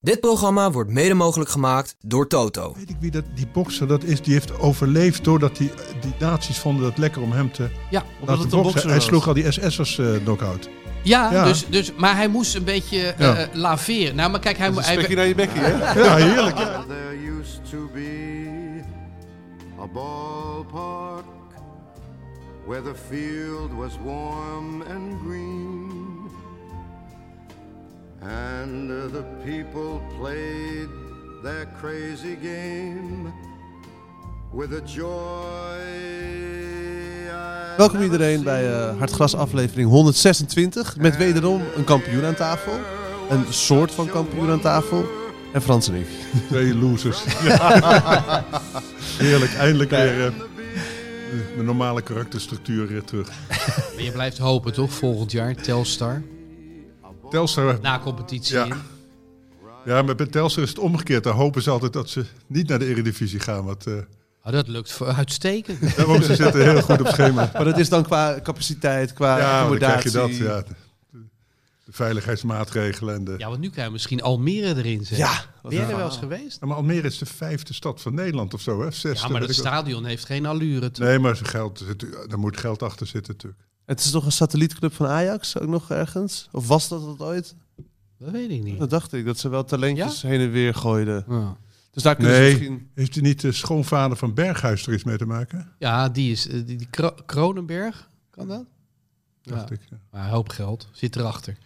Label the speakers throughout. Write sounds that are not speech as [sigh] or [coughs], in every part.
Speaker 1: Dit programma wordt mede mogelijk gemaakt door Toto.
Speaker 2: Weet ik wie dat, die bokser dat is? Die heeft overleefd doordat die, die nazi's vonden dat lekker om hem te
Speaker 3: Ja, omdat
Speaker 2: laten
Speaker 3: het
Speaker 2: boksen.
Speaker 3: een bokser
Speaker 2: Hij
Speaker 3: was.
Speaker 2: sloeg al die SS'ers eh knock-out.
Speaker 3: Ja,
Speaker 2: Ja.
Speaker 3: Dus, dus, maar hij moest een beetje eh
Speaker 2: Ja.
Speaker 3: laveren. Nou, maar kijk, hij, mo- hij,
Speaker 4: Spekje naar je bekje, hè?
Speaker 2: Ja, heerlijk. ja.
Speaker 5: There used to be a ballpark where the field was warm and green, and the people played their crazy game with a joy. I
Speaker 4: Welkom
Speaker 5: never
Speaker 4: iedereen bij eh, Hartgras aflevering 126. Met wederom een kampioen aan tafel. Een soort van kampioen aan tafel. En Frans en ik.
Speaker 2: Twee losers. [laughs] Heerlijk, eindelijk weer eh, mijn normale karakterstructuur weer terug.
Speaker 3: maar je blijft hopen, toch? Volgend jaar, Telstar.
Speaker 2: Telstar,
Speaker 3: Na competitie
Speaker 2: Ja.
Speaker 3: in.
Speaker 2: ja, maar bij Telstar is het omgekeerd. Daar hopen ze altijd dat ze niet naar de Eredivisie gaan. Want eh,
Speaker 3: Ah, dat lukt voor-
Speaker 2: [laughs]
Speaker 3: uitstekend.
Speaker 2: daarom ze zitten heel goed op schema.
Speaker 4: Maar dat is dan qua capaciteit, qua
Speaker 2: Ja, dan krijg je
Speaker 4: accommodatie.
Speaker 2: dat. Ja. De veiligheidsmaatregelen en de...
Speaker 3: ja, want nu krijgen we misschien Almere erin zetten.
Speaker 4: Ja,
Speaker 3: Ben jij er wel eens geweest?
Speaker 2: Ja, maar Almere is de vijfde stad van Nederland of zo, hè? Zesde,
Speaker 3: Ja, maar
Speaker 2: weet
Speaker 3: dat
Speaker 2: ik wat.
Speaker 3: stadion heeft geen allure. toch?
Speaker 2: Nee, maar ze geld, het- daar moet geld achter zitten natuurlijk.
Speaker 4: Het is toch een satellietclub van Ajax ook nog ergens? Of was dat dat ooit?
Speaker 3: Dat weet ik niet.
Speaker 4: Dat dacht ik, dat ze wel talentjes heen en weer gooiden.
Speaker 3: Ja.
Speaker 4: Dus daar kunnen
Speaker 2: Nee.
Speaker 4: ze misschien...
Speaker 2: Heeft u niet de schoonvader van Berghuis er iets mee te maken?
Speaker 3: Ja, die is... eh, Die, die Kro- Kronenberg, kan dat?
Speaker 2: Dacht
Speaker 3: Ja.
Speaker 2: ik. ja.
Speaker 3: Maar een hoop geld zit erachter.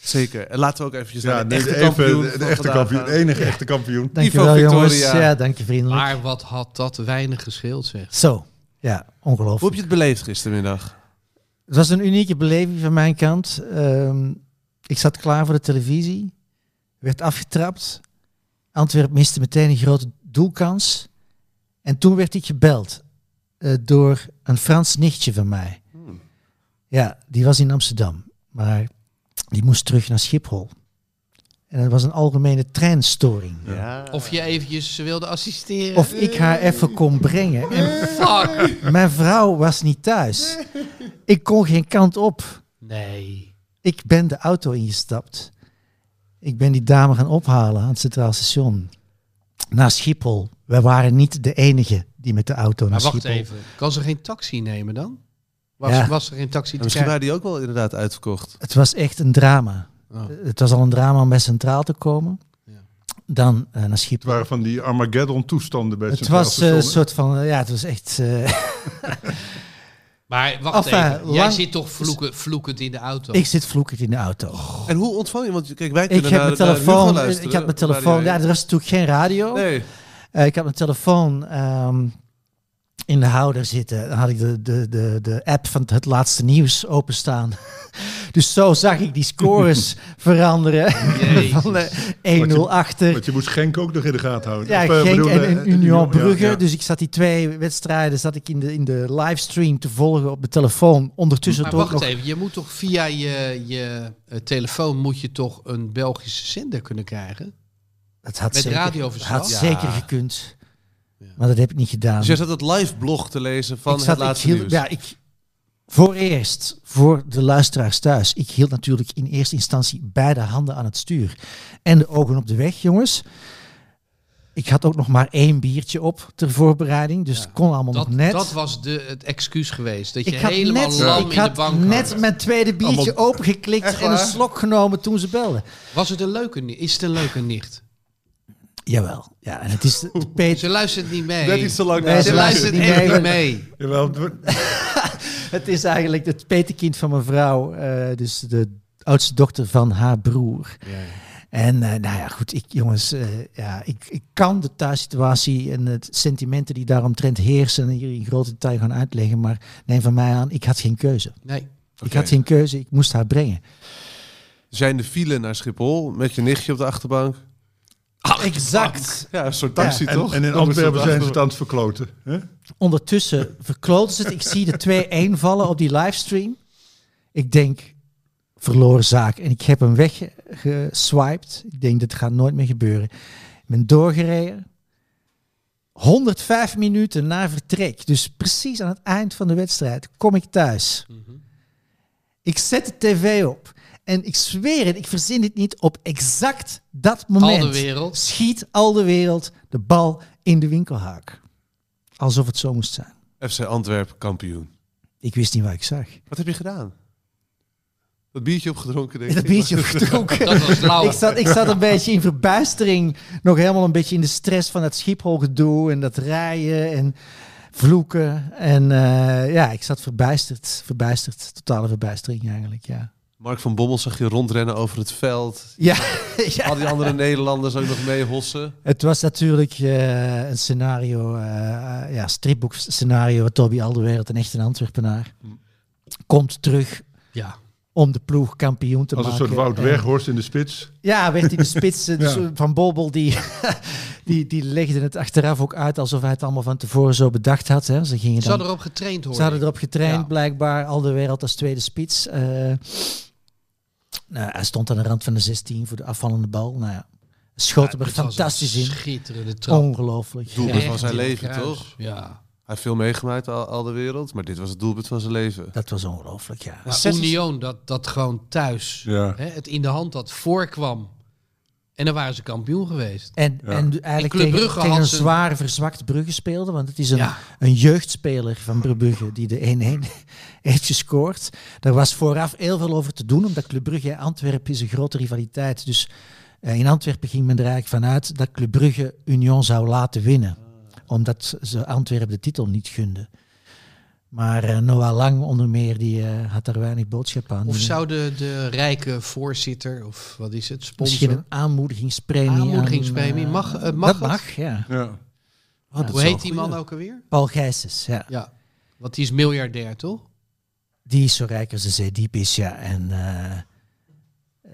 Speaker 4: Zeker. En laten we ook eventjes
Speaker 2: Ja,
Speaker 4: naar de
Speaker 2: nee,
Speaker 4: echte
Speaker 2: even
Speaker 4: kampioen
Speaker 2: de, de
Speaker 4: van
Speaker 2: echte
Speaker 4: vandaag eh?
Speaker 2: kampioen,
Speaker 4: gaan.
Speaker 2: de enige echte kampioen.
Speaker 6: Dankjewel
Speaker 4: Ivo
Speaker 6: jongens.
Speaker 4: Victoria.
Speaker 6: Ja, dank je vriendelijk.
Speaker 3: Maar wat had dat weinig gescheeld, zeg.
Speaker 6: Zo, ja, ongelooflijk.
Speaker 4: Hoe heb je het beleefd gistermiddag?
Speaker 6: Het was een unieke beleving van mijn kant. Ehm, ik zat klaar voor de televisie, werd afgetrapt. Antwerp miste meteen een grote doelkans. En toen werd ik gebeld eh, door een Frans nichtje van mij.
Speaker 4: Hmm.
Speaker 6: Ja, die was in Amsterdam, maar die moest terug naar Schiphol. En dat was een algemene treinstoring.
Speaker 3: Of je eventjes wilde assisteren.
Speaker 6: Of ik haar even kon brengen. En
Speaker 3: Fuck!
Speaker 6: Mijn vrouw was niet thuis. Ik kon geen kant op.
Speaker 3: Nee.
Speaker 6: Ik ben de auto ingestapt. Ik ben die dame gaan ophalen aan het Centraal Station. Naar Schiphol. We waren niet de enige die met de auto
Speaker 3: Maar
Speaker 6: naar
Speaker 3: wacht
Speaker 6: Schiphol...
Speaker 3: even. Kan ze geen taxi nemen dan? Was,
Speaker 6: Ja.
Speaker 3: was er geen taxi
Speaker 4: En
Speaker 3: te
Speaker 4: misschien
Speaker 3: krijgen?
Speaker 4: waren die ook wel inderdaad uitverkocht.
Speaker 6: Het was echt een drama.
Speaker 3: Oh.
Speaker 6: Het was al een drama om bij Centraal te komen.
Speaker 3: Ja.
Speaker 6: Dan eh, naar Schiphol.
Speaker 2: Het waren van die Armageddon-toestanden bij
Speaker 6: Het
Speaker 2: Centraal
Speaker 6: was eh,
Speaker 2: Station,
Speaker 6: een
Speaker 2: hè?
Speaker 6: soort van... Ja, het was echt... eh,
Speaker 3: Maar wacht
Speaker 6: Enfin,
Speaker 3: even. Jij
Speaker 6: eh, lang-
Speaker 3: zit toch vloeken, vloekend in de auto?
Speaker 6: [laughs] ik zit vloekend in de auto.
Speaker 4: En hoe ontvang je? Want kijk, wij
Speaker 6: ik
Speaker 4: Oh, kunnen
Speaker 6: heb
Speaker 4: naar, naar
Speaker 6: mijn
Speaker 4: Hugo
Speaker 6: telefoon...
Speaker 4: luisteren,
Speaker 6: Ik had mijn
Speaker 4: op de radio
Speaker 6: telefoon... Ja,
Speaker 4: één.
Speaker 6: er was natuurlijk geen radio.
Speaker 4: nee.
Speaker 6: Eh, ik had mijn telefoon ehm, in de houder zitten. Dan had ik de, de, de, de app van het laatste nieuws openstaan. [laughs] Dus zo zag ik die
Speaker 2: [laughs]
Speaker 6: scores veranderen.
Speaker 3: Jezus.
Speaker 6: [laughs] van eh, de 1-0 achter.
Speaker 2: Want je moest Genk ook nog in de gaten houden.
Speaker 6: Ja,
Speaker 2: Of, eh,
Speaker 6: Genk
Speaker 2: bedoel,
Speaker 6: en,
Speaker 2: eh,
Speaker 6: en
Speaker 2: eh,
Speaker 6: Union Brugge.
Speaker 2: ja, ja.
Speaker 6: Dus ik zat die twee wedstrijden zat ik in, de, in de livestream te volgen op de telefoon. Ondertussen
Speaker 3: maar
Speaker 6: toch
Speaker 3: wacht
Speaker 6: nog...
Speaker 3: even. Je moet toch via je, je eh, telefoon moet je toch een Belgische zender kunnen krijgen?
Speaker 6: Het had
Speaker 3: met
Speaker 6: zeker,
Speaker 3: radioverslag?
Speaker 6: had
Speaker 3: Ja.
Speaker 6: zeker gekund. Maar dat heb ik niet gedaan.
Speaker 4: Dus jij zat het live blog te lezen van
Speaker 6: ik zat,
Speaker 4: het
Speaker 6: ik
Speaker 4: laatste
Speaker 6: hield-
Speaker 4: nieuws.
Speaker 6: Ja, ik, voor eerst, voor de luisteraars thuis. Ik hield natuurlijk in eerste instantie beide handen aan het stuur. En de ogen op de weg, jongens. Ik had ook nog maar één biertje op ter voorbereiding. Dus het kon allemaal
Speaker 3: Dat,
Speaker 6: nog net.
Speaker 3: dat was de, het excuus geweest. Dat je
Speaker 6: ik had
Speaker 3: helemaal
Speaker 6: net,
Speaker 3: lam
Speaker 6: ik
Speaker 3: in de
Speaker 6: had
Speaker 3: bank
Speaker 6: net
Speaker 3: hangt.
Speaker 6: mijn tweede biertje opengeklikt en een slok genomen toen ze belden.
Speaker 3: Was het een leuke nicht? Is het een leuke nicht?
Speaker 6: Jawel. Ja, en het is
Speaker 3: [laughs]
Speaker 6: de, de Peter-
Speaker 3: Ze luistert niet mee.
Speaker 4: Net iets te lang
Speaker 6: Nee,
Speaker 4: na.
Speaker 6: ze
Speaker 3: ze
Speaker 6: luistert
Speaker 3: luistert
Speaker 6: niet
Speaker 3: echt
Speaker 6: mee.
Speaker 3: niet mee.
Speaker 2: Jawel, het wordt-
Speaker 6: Het is eigenlijk het petekind van mijn vrouw. eh, dus de oudste dochter van haar broer. En eh, nou ja, goed, ik, jongens, eh, ja, ik, ik kan de thuissituatie en het sentimenten die daaromtrent heersen hier in groot detail gaan uitleggen. Maar neem van mij aan, ik had geen keuze.
Speaker 3: Nee.
Speaker 6: Ik had geen keuze, ik moest haar brengen.
Speaker 4: Zijn de file naar Schiphol met je nichtje op de achterbank?
Speaker 6: exact.
Speaker 4: Ja, een soort taxi
Speaker 2: en,
Speaker 4: toch?
Speaker 2: en in
Speaker 4: Kom eens op
Speaker 2: Antwerpen
Speaker 4: de
Speaker 2: zijn ze
Speaker 4: achterbank.
Speaker 2: het aan het verkloten. Hè?
Speaker 6: Ondertussen verkloten ze het. Ik zie de 2-1 vallen op die livestream. Ik denk, verloren zaak. En ik heb hem weggeswiped. Ik denk, dit gaat nooit meer gebeuren. Ik ben doorgereden. 105 minuten na vertrek, dus precies aan het eind van de wedstrijd, kom ik thuis. Ik zet de tv op. En ik zweer het, ik verzin dit niet. Op exact dat moment
Speaker 3: Al de
Speaker 6: [laughs]
Speaker 3: wereld.
Speaker 6: schiet al de wereld de bal in de winkelhaak. Alsof het zo moest zijn.
Speaker 4: FC Antwerpen kampioen.
Speaker 6: Ik wist niet wat ik zag.
Speaker 4: Wat heb je gedaan? Dat biertje opgedronken, denk
Speaker 6: Ik
Speaker 4: ik.
Speaker 6: dat biertje gedronken.
Speaker 3: Dat was lauw.
Speaker 6: Ik zat, ik zat een beetje in verbijstering. Nog helemaal een beetje in de stress van dat Schiphol-gedoe en dat rijden en vloeken. En eh, ja, ik zat verbijsterd. Verbijsterd. Totale verbijstering eigenlijk, ja.
Speaker 4: Mark van Bommel zag je rondrennen over het veld.
Speaker 6: Ja, ja.
Speaker 4: Al die
Speaker 6: [laughs]
Speaker 4: andere Nederlanders ook nog mee hossen.
Speaker 6: Het was natuurlijk eh, een scenario, eh ja, stripboekscenario. Toby Alderweireld, een echte Antwerpenaar, komt terug
Speaker 3: Ja.
Speaker 6: om de ploeg kampioen te
Speaker 2: Als een
Speaker 6: maken.
Speaker 2: soort Wout
Speaker 6: En-
Speaker 2: Weghorst in de spits.
Speaker 6: Ja, werd in de
Speaker 2: [laughs]
Speaker 6: spits eh, dus
Speaker 2: Ja.
Speaker 6: van Bobel. Die, [laughs] die, die legde het achteraf ook uit alsof hij het allemaal van tevoren zo bedacht had. Hè. Ze, gingen
Speaker 3: Ze
Speaker 6: dan,
Speaker 3: hadden erop getraind hoor.
Speaker 6: ze hadden erop getraind,
Speaker 3: Ja.
Speaker 6: blijkbaar. Alderweireld als tweede spits. Eh, nou, hij stond aan de rand van de 16 voor de afvallende bal. Nou ja, schoot hem er fantastisch in. Oh.
Speaker 3: Schitterende trap.
Speaker 6: Ongelooflijk.
Speaker 4: Doelpunt
Speaker 3: Echt
Speaker 4: van zijn
Speaker 3: in het
Speaker 4: leven,
Speaker 3: kruis.
Speaker 4: toch?
Speaker 3: Ja.
Speaker 4: Hij heeft veel meegemaakt al, al de wereld, maar dit was het doelpunt van zijn leven.
Speaker 6: Dat was ongelooflijk, ja.
Speaker 3: Maar
Speaker 4: Zes-
Speaker 3: Union, dat, dat gewoon thuis
Speaker 2: Ja.
Speaker 3: hè, het in de hand dat voorkwam. En dan waren ze kampioen geweest.
Speaker 6: En,
Speaker 2: Ja.
Speaker 6: en eigenlijk
Speaker 3: En Club
Speaker 6: tegen,
Speaker 3: Brugge
Speaker 6: tegen
Speaker 3: had
Speaker 6: een
Speaker 3: ze-
Speaker 6: zwaar verzwakt Brugge speelde. Want het is een,
Speaker 3: Ja.
Speaker 6: een jeugdspeler van Brugge Brugge die de 1-1 [laughs] heeft gescoord. Daar was vooraf heel veel over te doen. Omdat Club Brugge en Antwerpen is een grote rivaliteit. Dus eh, in Antwerpen ging men er eigenlijk vanuit dat Club Brugge Union zou laten winnen. Omdat ze Antwerpen de titel niet gunden. Maar eh, Noah Lang onder meer, die eh, had daar weinig boodschap aan.
Speaker 3: Of
Speaker 6: Die-
Speaker 3: zou de, de rijke voorzitter, of wat is het,
Speaker 6: Misschien
Speaker 3: sponsor,
Speaker 6: een aanmoedigingspremie. aan,
Speaker 3: Aanmoedigingspremie.
Speaker 6: eh,
Speaker 3: Mag- eh, mag
Speaker 6: dat
Speaker 3: het?
Speaker 6: mag, ja.
Speaker 2: Ja.
Speaker 6: Oh, dat
Speaker 3: hoe
Speaker 6: zou
Speaker 3: heet die
Speaker 6: goed
Speaker 3: man
Speaker 6: zijn.
Speaker 3: ook alweer?
Speaker 6: Paul Gijsens, ja.
Speaker 3: Ja, want die is miljardair, toch?
Speaker 6: Die is zo rijk als de zee diep is, ja. En, eh,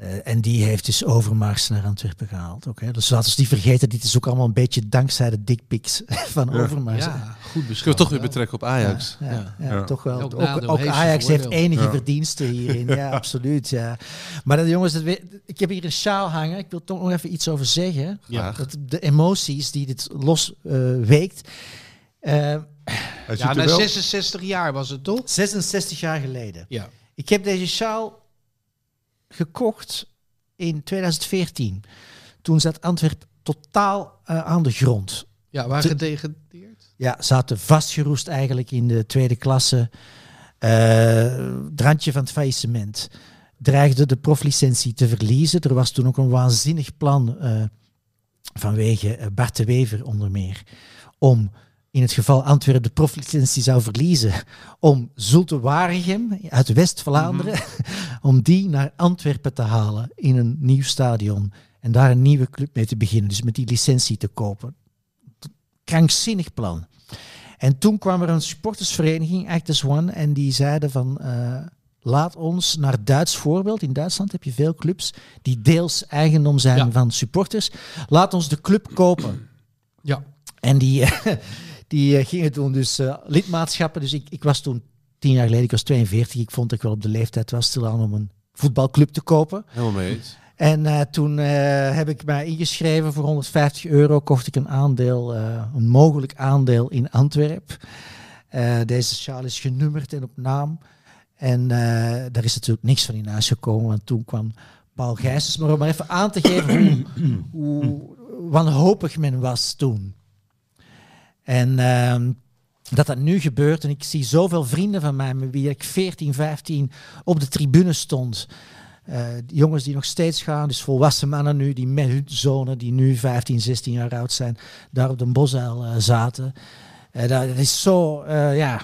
Speaker 6: eh, en die heeft dus Overmars naar Antwerpen gehaald. Ook, hè. Dus laten we niet vergeten, dit is ook allemaal een beetje dankzij de dickpics [laughs] van Overmars. hè.
Speaker 3: Ja, goed
Speaker 4: Kunnen
Speaker 3: beschouwd.
Speaker 4: we toch weer betrekken op Ajax?
Speaker 6: Ja, ja,
Speaker 2: Ja.
Speaker 6: toch wel.
Speaker 3: Elk
Speaker 6: Ook,
Speaker 3: nadeel
Speaker 6: ook
Speaker 3: heeft zijn
Speaker 6: Ajax heeft
Speaker 3: voordeel.
Speaker 6: enige
Speaker 2: Ja.
Speaker 6: verdiensten hierin. Ja, absoluut. Ja. Maar dat, jongens, dat we- ik heb hier een sjaal hangen. Ik wil toch nog even iets over zeggen.
Speaker 4: Graag.
Speaker 6: Dat de emoties die dit losweekt. weekt. Eh,
Speaker 2: Hij ziet
Speaker 3: Ja,
Speaker 2: er
Speaker 3: na
Speaker 2: wel-
Speaker 3: 66 jaar was het toch?
Speaker 6: 66 jaar geleden.
Speaker 3: Ja.
Speaker 6: Ik heb deze sjaal gekocht in 2014. Toen zat Antwerpen totaal eh, aan de grond.
Speaker 3: Ja, waren gedegradeerd.
Speaker 6: Ja, zaten vastgeroest eigenlijk in de tweede klasse. Eh randje van het faillissement. Dreigde de proflicentie te verliezen. Er was toen ook een waanzinnig plan eh, vanwege eh, Bart de Wever onder meer. Om in het geval Antwerpen de proflicentie zou verliezen. Om Zulte Waregem uit West-Vlaanderen. [laughs] om die naar Antwerpen te halen in een nieuw stadion. En daar een nieuwe club mee te beginnen. Dus met die licentie te kopen krankzinnig plan. En toen kwam er een sportersvereniging, Act as One, en die zeiden van... eh, laat ons naar Duits voorbeeld. In Duitsland heb je veel clubs die deels eigendom zijn
Speaker 3: Ja.
Speaker 6: van supporters. Laat ons de club kopen.
Speaker 3: Ja.
Speaker 6: En die, [laughs] eh, die eh, gingen toen dus eh, lidmaatschappen. Dus ik, ik was toen tien jaar geleden, ik was 42. Ik vond dat ik wel op de leeftijd was stilaan om een voetbalclub te kopen.
Speaker 4: Helemaal mee eens.
Speaker 6: En eh, toen eh, heb ik mij ingeschreven voor 150 euro. Kocht ik een aandeel, eh, een mogelijk aandeel in Antwerpen. Eh, deze sjaal is genummerd en op naam. En eh, daar is natuurlijk niks van in huis gekomen, want toen kwam Paul Gijsens. Maar om maar even aan te geven hoe, hoe wanhopig men was toen. En ehm, dat dat nu gebeurt. En ik zie zoveel vrienden van mij, met wie ik 14, 15 op de tribune stond. Eh, die jongens die nog steeds gaan, dus volwassen mannen nu, die met hun zonen, die nu 15, 16 jaar oud zijn, daar op de bosuil eh, zaten. Eh, dat, dat is zo, eh, ja,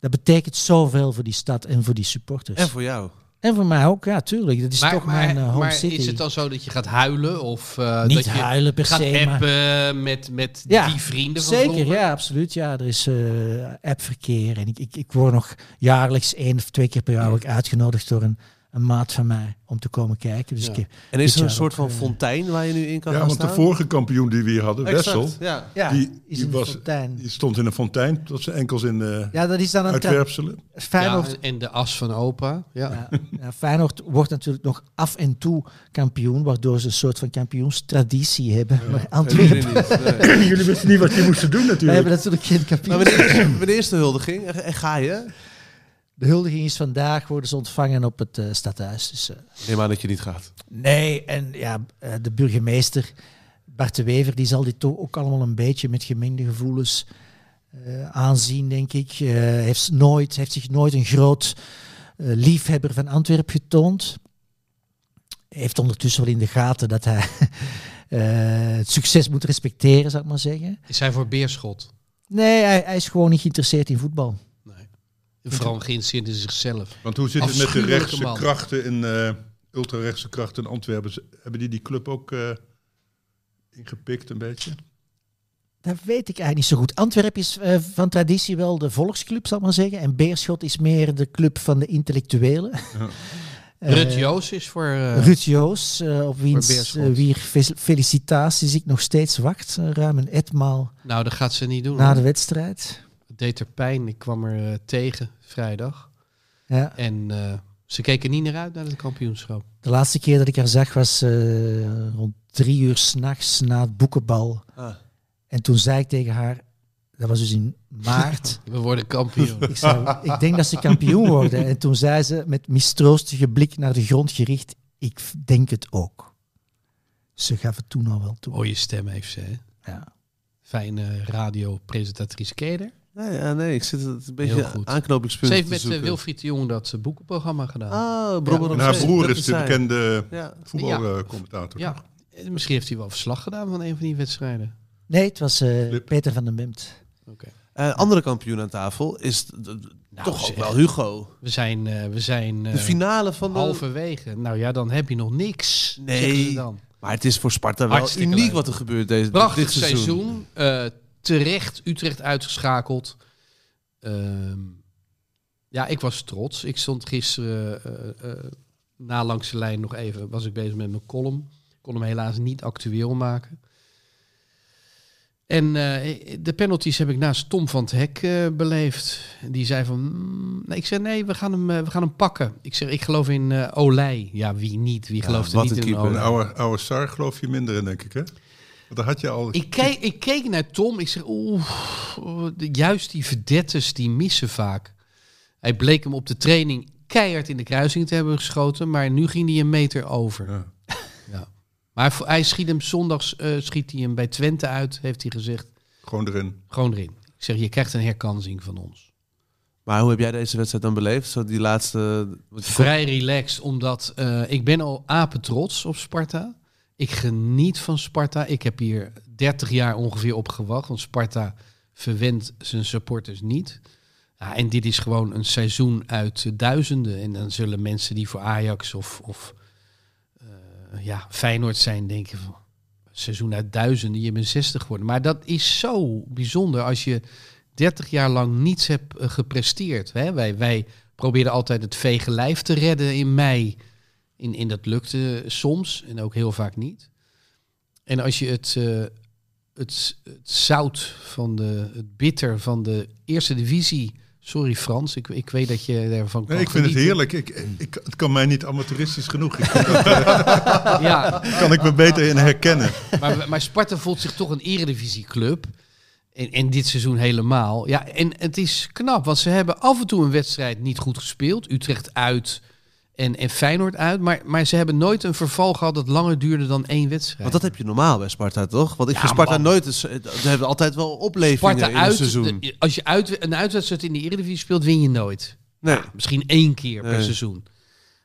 Speaker 6: dat betekent zoveel voor die stad en voor die supporters.
Speaker 4: En voor jou.
Speaker 6: En voor mij ook, ja, tuurlijk. Dat is
Speaker 3: Maar,
Speaker 6: toch
Speaker 3: maar,
Speaker 6: mijn eh, home
Speaker 3: maar
Speaker 6: city.
Speaker 3: is het dan zo dat je gaat huilen? Of eh,
Speaker 6: Niet
Speaker 3: dat je
Speaker 6: huilen per
Speaker 3: gaat
Speaker 6: se, maar-
Speaker 3: appen met, met
Speaker 6: Ja,
Speaker 3: die vrienden van
Speaker 6: Zeker,
Speaker 3: vroeger?
Speaker 6: ja, absoluut. Ja, er is eh appverkeer. En ik, ik, ik word nog jaarlijks één of twee keer per jaar word ik uitgenodigd door een, een een maat van mij om te komen kijken. Dus
Speaker 4: Ja.
Speaker 6: ik heb,
Speaker 4: En is
Speaker 6: dit
Speaker 4: er een
Speaker 6: jaar
Speaker 4: soort
Speaker 6: ook,
Speaker 4: van
Speaker 6: eh,
Speaker 4: fontein waar je nu in kan
Speaker 2: Ja,
Speaker 4: gaan
Speaker 2: want de
Speaker 4: staan?
Speaker 2: vorige kampioen die we hier hadden,
Speaker 4: Exact,
Speaker 2: Wessel,
Speaker 4: Ja.
Speaker 6: ja,
Speaker 2: die-
Speaker 6: is
Speaker 2: die
Speaker 6: een
Speaker 2: was-
Speaker 6: fontein.
Speaker 2: die stond in een fontein tot zijn enkels in eh
Speaker 6: Ja, dat is dan een tra-
Speaker 2: uitwerpselen.
Speaker 6: Feyenoord.
Speaker 3: en- en de as van opa. Ja.
Speaker 6: Ja. ja, Feyenoord wordt natuurlijk nog af en toe kampioen, waardoor ze een soort van kampioenstraditie hebben. Maar Antwerpen,
Speaker 4: Jullie niet, nee.
Speaker 2: Jullie wisten niet wat je moest doen
Speaker 6: wij
Speaker 2: natuurlijk.
Speaker 6: hebben natuurlijk geen
Speaker 4: Maar
Speaker 6: kampioen.
Speaker 4: wanneer, wanneer is de huldiging? En, en ga je?
Speaker 6: De huldiging is vandaag, worden ze ontvangen op het eh, stadhuis. Dus, eh,
Speaker 4: Neem aan dat je niet gaat.
Speaker 6: nee, en ja, eh, de burgemeester Bart de Wever, die zal dit toch ook allemaal een beetje met gemengde gevoelens eh, aanzien, denk ik. Eh, heeft, nooit, heeft zich nooit een groot eh, liefhebber van Antwerpen getoond. Heeft ondertussen wel in de gaten dat hij [laughs] eh, het succes moet respecteren, zou ik maar zeggen.
Speaker 3: Is hij voor Beerschot?
Speaker 6: Nee, hij, hij is gewoon niet geïnteresseerd in voetbal.
Speaker 3: Nee. Vooral geïnteresseerd in zichzelf.
Speaker 2: Want hoe zit het met de
Speaker 3: Afschuwelijke
Speaker 2: rechtse
Speaker 3: man.
Speaker 2: krachten in eh ultrarechtse krachten in Antwerpen? Z- Hebben die die club ook eh, ingepikt een beetje?
Speaker 6: Dat weet ik eigenlijk niet zo goed. Antwerpen is eh, van traditie wel de volksclub, zal ik maar zeggen. En Beerschot is meer de club van de intellectuelen. [laughs] Eh,
Speaker 3: Rut Joos is voor... eh,
Speaker 6: Ruud Joos, eh, op wiens
Speaker 3: Beerschot.
Speaker 6: eh, wier fe- felicitaties ik nog steeds wacht. eh, ruim een etmaal
Speaker 3: nou, dat gaat ze niet doen.
Speaker 6: na
Speaker 3: hoor.
Speaker 6: de wedstrijd.
Speaker 3: Het deed er pijn. Ik kwam er eh, tegen vrijdag.
Speaker 6: Ja.
Speaker 3: En eh, ze keken niet naar uit naar het kampioenschap.
Speaker 6: De laatste keer dat ik haar zag was eh, rond drie uur s'nachts na het boekenbal.
Speaker 4: Ah.
Speaker 6: En toen zei ik tegen haar, dat was dus in maart...
Speaker 3: We worden
Speaker 6: [laughs]
Speaker 3: kampioen. [laughs]
Speaker 6: Ik, zei, ik denk dat ze kampioen worden. En toen zei ze met mistroostige blik naar de grond gericht, ik v- denk het ook. Ze gaf het toen al wel toe.
Speaker 3: Mooie stem heeft ze, hè?
Speaker 6: Ja.
Speaker 3: Fijne radiopresentatrice Keder.
Speaker 4: Nee, ja, nee, ik zit het een
Speaker 3: Heel
Speaker 4: beetje
Speaker 3: goed.
Speaker 4: aanknopingspunt
Speaker 3: Ze heeft
Speaker 4: te
Speaker 3: met eh,
Speaker 4: zoeken.
Speaker 3: Wilfried de Jong dat eh, boekenprogramma gedaan.
Speaker 4: Ah, Brommer
Speaker 2: En
Speaker 4: op
Speaker 2: haar
Speaker 4: zee.
Speaker 2: broer
Speaker 4: Dat
Speaker 2: is de
Speaker 4: hij.
Speaker 2: bekende
Speaker 4: Ja.
Speaker 2: voetbalcommentator.
Speaker 3: Ja. Eh, Misschien heeft hij wel verslag gedaan van een van die wedstrijden.
Speaker 6: Nee, het was eh,
Speaker 2: Flip.
Speaker 6: Peter van den Bemt.
Speaker 4: Eh, andere kampioen aan tafel is d- d- toch ook
Speaker 3: Nou, zeg.
Speaker 4: wel Hugo.
Speaker 3: We zijn, eh, we zijn eh,
Speaker 4: De finale van de...
Speaker 3: halverwege. Nou ja, dan heb je nog niks.
Speaker 4: Nee.
Speaker 3: zeggen ze Dan.
Speaker 4: Maar het is voor Sparta wel
Speaker 3: Hartstikke
Speaker 4: uniek
Speaker 3: leuk.
Speaker 4: wat er gebeurt deze,
Speaker 3: Prachtig
Speaker 4: dit seizoen.
Speaker 3: seizoen. Eh, terecht Utrecht uitgeschakeld. Ehm, ja, ik was trots. Ik stond gisteren eh, eh, na langs de lijn nog even... was ik bezig met mijn column. Ik kon hem helaas niet actueel maken. En eh, de penalties heb ik naast Tom van het Hek eh, beleefd. Die zei van... mm, nee, ik zei nee, we gaan, hem, eh, we gaan hem pakken. Ik zeg, ik geloof in eh Olij. Ja, wie niet? Wie gelooft er
Speaker 4: wat
Speaker 3: niet
Speaker 4: een
Speaker 3: in
Speaker 4: keeper.
Speaker 2: Een
Speaker 3: Olij?
Speaker 2: oude, oude Sar geloof je minder in, denk ik, hè? Want daar had je al...
Speaker 3: Ik keek, ik keek naar Tom. Ik zeg, oeh, de- juist die verdettes die missen vaak. Hij bleek hem op de training keihard in de kruising te hebben geschoten, maar nu ging hij een meter over.
Speaker 2: Ja.
Speaker 3: [laughs] Ja. Maar voor- hij schiet hem zondags, eh, schiet hij hem bij Twente uit, heeft hij gezegd.
Speaker 2: Gewoon erin.
Speaker 3: Gewoon erin. Ik zeg, je krijgt een herkansing van ons.
Speaker 4: Maar hoe heb jij deze wedstrijd dan beleefd? Zo die laatste... want je
Speaker 3: Vrij relaxed, omdat eh, ik ben al apetrots op Sparta. Ik geniet van Sparta. Ik heb hier 30 jaar ongeveer op gewacht, want Sparta verwendt zijn supporters niet. Ja, en dit is gewoon een seizoen uit eh, duizenden. En dan zullen mensen die voor Ajax of, of eh, ja, Feyenoord zijn denken van... Seizoen uit duizenden, je bent 60 geworden. Maar dat is zo bijzonder als je 30 jaar lang niets hebt eh, gepresteerd. Hè? Wij, wij probeerden altijd het vege lijf te redden in mei. In, in dat lukte soms en ook heel vaak niet. En als je het, eh, het, het zout van de, het bitter van de eerste divisie. Sorry Frans, ik, ik weet dat je daarvan kan
Speaker 2: Nee, ik vind het
Speaker 3: genieten.
Speaker 2: heerlijk. Ik, ik, het kan mij niet amateuristisch genoeg. Ik, kan- [laughs]
Speaker 3: Ja,
Speaker 2: kan ik me beter in herkennen.
Speaker 3: maar, maar Sparta voelt zich toch een eredivisieclub. En, en dit seizoen helemaal. Ja, en het is knap, want ze hebben af en toe een wedstrijd niet goed gespeeld. Utrecht uit en, en Feyenoord uit. Maar, maar ze hebben nooit een verval gehad dat langer duurde dan één wedstrijd.
Speaker 4: Want dat heb je normaal bij Sparta, toch? Want ik
Speaker 3: Ja,
Speaker 4: vind Sparta
Speaker 3: man.
Speaker 4: nooit... een se- Ze hebben altijd wel oplevingen
Speaker 3: Sparta
Speaker 4: in
Speaker 3: uit,
Speaker 4: het seizoen.
Speaker 3: de- als je uit, een uitwedstrijd in de eredivisie speelt, win je nooit.
Speaker 4: Nee.
Speaker 3: Misschien één keer per
Speaker 4: Nee.
Speaker 3: seizoen.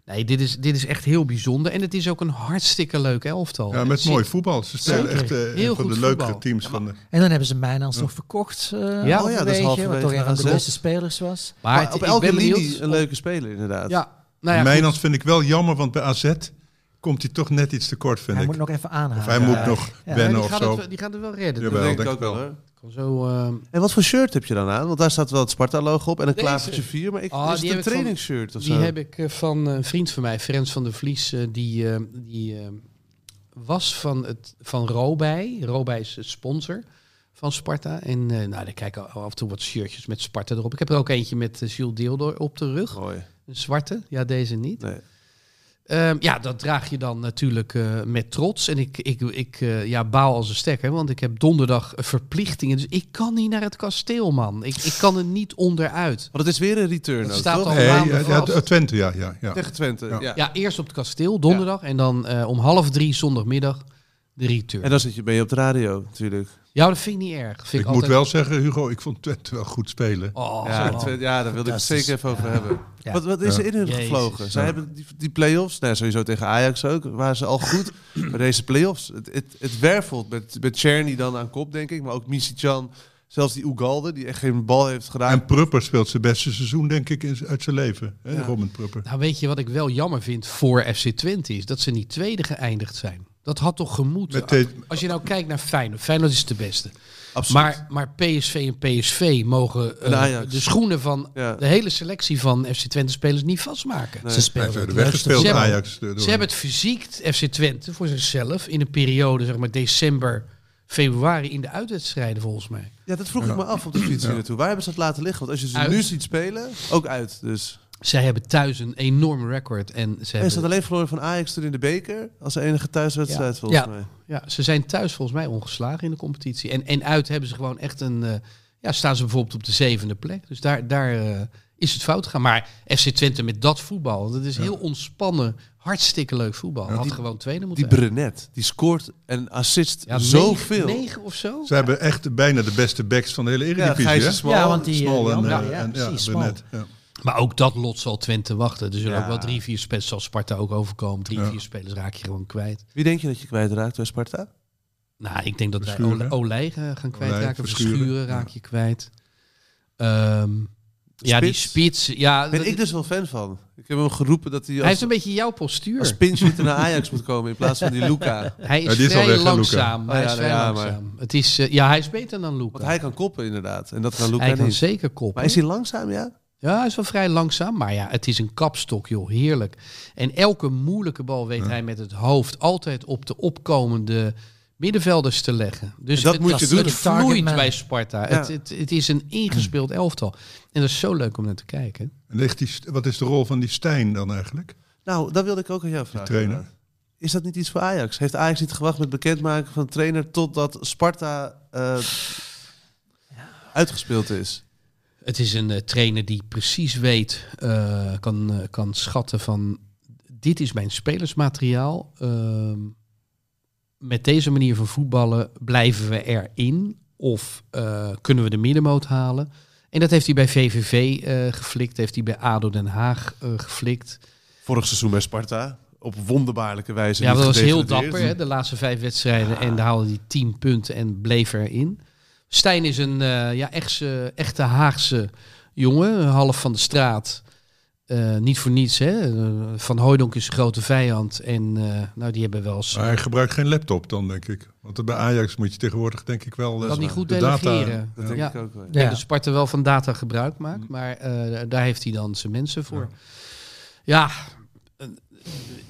Speaker 3: Nee, dit is, dit is echt heel bijzonder. En het is ook een hartstikke leuk elftal.
Speaker 2: Ja,
Speaker 3: Het
Speaker 2: met
Speaker 3: zit-
Speaker 2: mooi voetbal. Ze spelen
Speaker 3: Zeker.
Speaker 2: echt eh,
Speaker 3: Heel
Speaker 2: een van de
Speaker 3: goed
Speaker 2: leukere
Speaker 3: voetbal.
Speaker 2: teams van de...
Speaker 6: En dan hebben ze mij alsnog verkocht. eh ja,
Speaker 3: ja, dat
Speaker 2: oh
Speaker 4: is
Speaker 6: Wat
Speaker 4: halverwege
Speaker 6: toch een van de
Speaker 4: AZ.
Speaker 6: beste spelers was.
Speaker 3: Maar,
Speaker 4: Maar
Speaker 3: het-
Speaker 4: op
Speaker 3: ik
Speaker 4: elke
Speaker 3: ben benieuwd
Speaker 4: linie een
Speaker 3: of-
Speaker 4: leuke speler, inderdaad.
Speaker 3: Ja, nou ja, goed.
Speaker 2: Mijnans vind ik wel jammer, want bij AZ komt hij toch net iets tekort, vind
Speaker 6: Hij
Speaker 2: ik.
Speaker 6: moet nog even
Speaker 2: Hij
Speaker 6: aanhalen.
Speaker 2: moet nog
Speaker 6: Ja,
Speaker 2: wennen
Speaker 3: die
Speaker 2: of
Speaker 3: gaan
Speaker 2: zo.
Speaker 3: Het, die gaan er wel redden.
Speaker 4: Dat
Speaker 2: Jawel,
Speaker 4: denk ik
Speaker 2: denk
Speaker 4: ook
Speaker 2: ik
Speaker 4: wel.
Speaker 2: wel.
Speaker 4: hoor.
Speaker 3: Gewoon zo... ehm,
Speaker 4: En wat voor shirt heb je dan aan? Want daar staat wel het Sparta-logo op en een
Speaker 3: Deze.
Speaker 4: klavertje 4. Maar ik,
Speaker 3: Ah, die
Speaker 4: is het een
Speaker 3: heb ik van-
Speaker 4: trainingsshirt of
Speaker 3: Die
Speaker 4: zo?
Speaker 3: heb ik eh, van eh, een vriend van mij, Frans van der Vlies. eh, die eh, die eh, was van, het, van Robij. Robij is de sponsor van Sparta. En eh, nou, daar kijken af en toe wat shirtjes met Sparta erop. Ik heb er ook eentje met eh, Jules Deeldoor op de rug.
Speaker 4: Mooi.
Speaker 3: Een zwarte. Ja, deze niet.
Speaker 4: Nee.
Speaker 3: Ehm, ja, dat draag je dan natuurlijk eh, met trots. En ik, ik, ik eh, ja, baal als een stekker, want ik heb donderdag verplichtingen. Dus ik kan niet naar het kasteel, man. Ik, ik kan er niet onderuit.
Speaker 4: Want het is weer een return.
Speaker 3: Het
Speaker 4: ook,
Speaker 3: staat
Speaker 4: toch?
Speaker 3: al-
Speaker 2: Nee, ja,
Speaker 3: maanden
Speaker 2: ja,
Speaker 3: vast.
Speaker 2: Twente, ja. ja, ja.
Speaker 4: Tegen Twente. Ja.
Speaker 2: Ja.
Speaker 3: Ja, eerst op het kasteel, donderdag. En dan eh, om half drie zondagmiddag de return.
Speaker 4: En dan zit je, ben je op de radio natuurlijk.
Speaker 3: Ja, dat vind ik niet erg. Vind
Speaker 2: Ik
Speaker 3: ik
Speaker 2: moet
Speaker 3: altijd...
Speaker 2: wel zeggen, Hugo, ik vond Twente wel goed spelen.
Speaker 3: Oh,
Speaker 4: ja,
Speaker 3: man.
Speaker 4: Twente- ja, daar wilde ik het
Speaker 6: Fantastisch.
Speaker 4: zeker even over
Speaker 6: Ja.
Speaker 4: hebben.
Speaker 6: Ja.
Speaker 4: Wat, wat is er in hun
Speaker 3: Ja. Jezus.
Speaker 4: gevlogen? Zij
Speaker 2: Ja.
Speaker 4: hebben die, die play-offs, nou, sowieso tegen Ajax ook, waren ze al
Speaker 3: [clears throat]
Speaker 4: goed. maar deze play-offs, het, het, het wervelt met, met Czerny dan aan kop, denk ik. Maar ook Misicjan, zelfs die Ugalde, die echt geen bal heeft gedaan.
Speaker 2: En Prupper speelt zijn beste seizoen, denk ik, in z- uit zijn leven. Hè,
Speaker 4: Ja.
Speaker 2: Robin Prupper.
Speaker 3: Nou, weet je wat ik wel jammer vind voor FC Twente is dat ze niet tweede geëindigd zijn. Dat had toch gemoeten.
Speaker 2: Met de-
Speaker 3: Als je nou kijkt naar Feyenoord, Feyenoord is de beste.
Speaker 4: Absoluut.
Speaker 3: Maar, maar PSV en PSV mogen eh,
Speaker 4: En Ajax.
Speaker 3: de schoenen van
Speaker 4: Nou Ja.
Speaker 3: de hele selectie van FC Twente spelers niet vastmaken.
Speaker 4: Nee.
Speaker 6: Ze
Speaker 2: Hij
Speaker 6: speelden
Speaker 2: werd
Speaker 6: het juiste
Speaker 2: weggespeeld,
Speaker 3: Ze
Speaker 6: voetbal.
Speaker 3: hebben-
Speaker 2: Ajax. eh, door-
Speaker 3: Ze hebben het verziekt, FC Twente, voor zichzelf in een periode, zeg maar december, februari in de uitwedstrijden volgens mij.
Speaker 4: Ja, dat vroeg ik me af op de fiets hier naartoe. Waar hebben ze dat laten liggen? Want als je ze
Speaker 3: Uit.
Speaker 4: nu ziet spelen, ook uit. Dus.
Speaker 3: Zij hebben thuis een enorm record en ze,
Speaker 4: En ze
Speaker 3: hebben-
Speaker 4: had alleen verloren van Ajax toen in de beker. Als de enige thuiswedstrijd, volgens
Speaker 3: Ja.
Speaker 4: mij.
Speaker 3: ja, ze zijn thuis volgens mij ongeslagen in de competitie. En, en uit hebben ze gewoon echt een, eh, ja, staan ze bijvoorbeeld op de zevende plek. Dus daar, daar eh, is het fout gegaan. Maar FC Twente met dat voetbal, dat is heel ontspannen, hartstikke leuk voetbal. Had
Speaker 4: Die-
Speaker 3: gewoon tweede
Speaker 4: Die
Speaker 3: moeten eindigen.
Speaker 4: Brenet, die scoort en assist zoveel.
Speaker 3: Negen, negen of zo?
Speaker 2: Ze hebben echt bijna de beste backs van de hele Eredivisie.
Speaker 4: Gijs is
Speaker 2: hè?
Speaker 4: Smal.
Speaker 6: Ja, want die, eh,
Speaker 2: Small
Speaker 6: die
Speaker 2: en,
Speaker 6: andere-
Speaker 2: eh,
Speaker 6: ja,
Speaker 2: en- ja,
Speaker 6: precies,
Speaker 2: Burnett,
Speaker 6: Small.
Speaker 2: ja.
Speaker 3: Maar ook dat lot zal Twente wachten. Er zullen
Speaker 4: Ja.
Speaker 3: ook wel drie, vier spelers, zal Sparta ook overkomen. Drie,
Speaker 2: Ja.
Speaker 3: vier spelers raak je gewoon kwijt.
Speaker 4: Wie denk je dat je kwijtraakt bij Sparta?
Speaker 3: Nou, ik denk dat wij
Speaker 2: Verschuren.
Speaker 3: Ole- Olij eh, gaan kwijtraken.
Speaker 2: Verschuren.
Speaker 3: Verschuren, raak je kwijt. Ehm, ja, die
Speaker 4: Spits.
Speaker 3: spits. Ja,
Speaker 4: Ben
Speaker 3: dat-
Speaker 4: ik dus wel fan van. Ik heb hem geroepen dat hij
Speaker 3: hij heeft
Speaker 4: als,
Speaker 3: een beetje jouw postuur.
Speaker 4: als pinchhitter naar Ajax moet komen in plaats van die Luca.
Speaker 3: hij
Speaker 2: Ja,
Speaker 3: is
Speaker 2: die is al
Speaker 3: vrij
Speaker 2: weg, hè,
Speaker 3: langzaam.
Speaker 4: Luca?
Speaker 3: Hij
Speaker 4: Oh,
Speaker 3: is
Speaker 4: ja,
Speaker 3: vrij
Speaker 4: ja, maar-
Speaker 3: langzaam. Het is, eh, ja, hij is beter dan Luca.
Speaker 4: Want hij kan koppen inderdaad. En dat kan Luca
Speaker 3: Hij kan
Speaker 4: niet.
Speaker 3: zeker koppen.
Speaker 4: Maar is hij langzaam, ja?
Speaker 3: Ja, hij is wel vrij langzaam, maar ja, het is een kapstok, joh. Heerlijk. En elke moeilijke bal weet hij met het hoofd altijd op de opkomende middenvelders te leggen. Dus
Speaker 4: En dat
Speaker 3: het,
Speaker 4: moet je doen.
Speaker 3: het vloeit
Speaker 6: Targetman.
Speaker 3: bij Sparta.
Speaker 4: Ja.
Speaker 3: Het, het, het is een ingespeeld elftal. En dat is zo leuk om naar te kijken.
Speaker 2: En ligt die, st- wat is de rol van die Stijn dan eigenlijk?
Speaker 4: Nou, dat wilde ik ook aan jou vragen.
Speaker 2: trainer.
Speaker 4: Is dat niet iets voor Ajax? Heeft Ajax niet gewacht met bekendmaken van de trainer totdat Sparta eh, uitgespeeld is?
Speaker 3: Het is een eh, trainer die precies weet, eh, kan, eh, kan schatten van... dit is mijn spelersmateriaal. Ehm, met deze manier van voetballen blijven we erin. Of eh, kunnen we de middenmoot halen. En dat heeft hij bij VVV eh, geflikt. Heeft hij bij ADO Den Haag eh, geflikt.
Speaker 4: Vorig seizoen bij Sparta. Op wonderbaarlijke wijze.
Speaker 3: Ja,
Speaker 4: niet
Speaker 3: dat was heel
Speaker 4: gedegradeerd.
Speaker 3: dapper. Hè, de laatste vijf wedstrijden. En daar haalde hij tien punten en bleef erin. Stijn is een eh, ja, echtse, echte Haagse jongen. een Half van de straat. Eh, niet voor niets. Hè. Eh, Van Hooydonk is een grote vijand. En eh, nou, die hebben wel eens...
Speaker 2: Maar hij gebruikt geen laptop dan, denk ik. Want bij Ajax moet je tegenwoordig denk ik wel... eh,
Speaker 3: kan niet goed
Speaker 2: de data-
Speaker 3: delegeren.
Speaker 4: Dat denk
Speaker 3: Ja.
Speaker 4: ik ook wel.
Speaker 3: Ja.
Speaker 6: Ja.
Speaker 3: Dus Sparta wel van data gebruik maakt. Maar eh, daar heeft hij dan zijn mensen voor. Ja,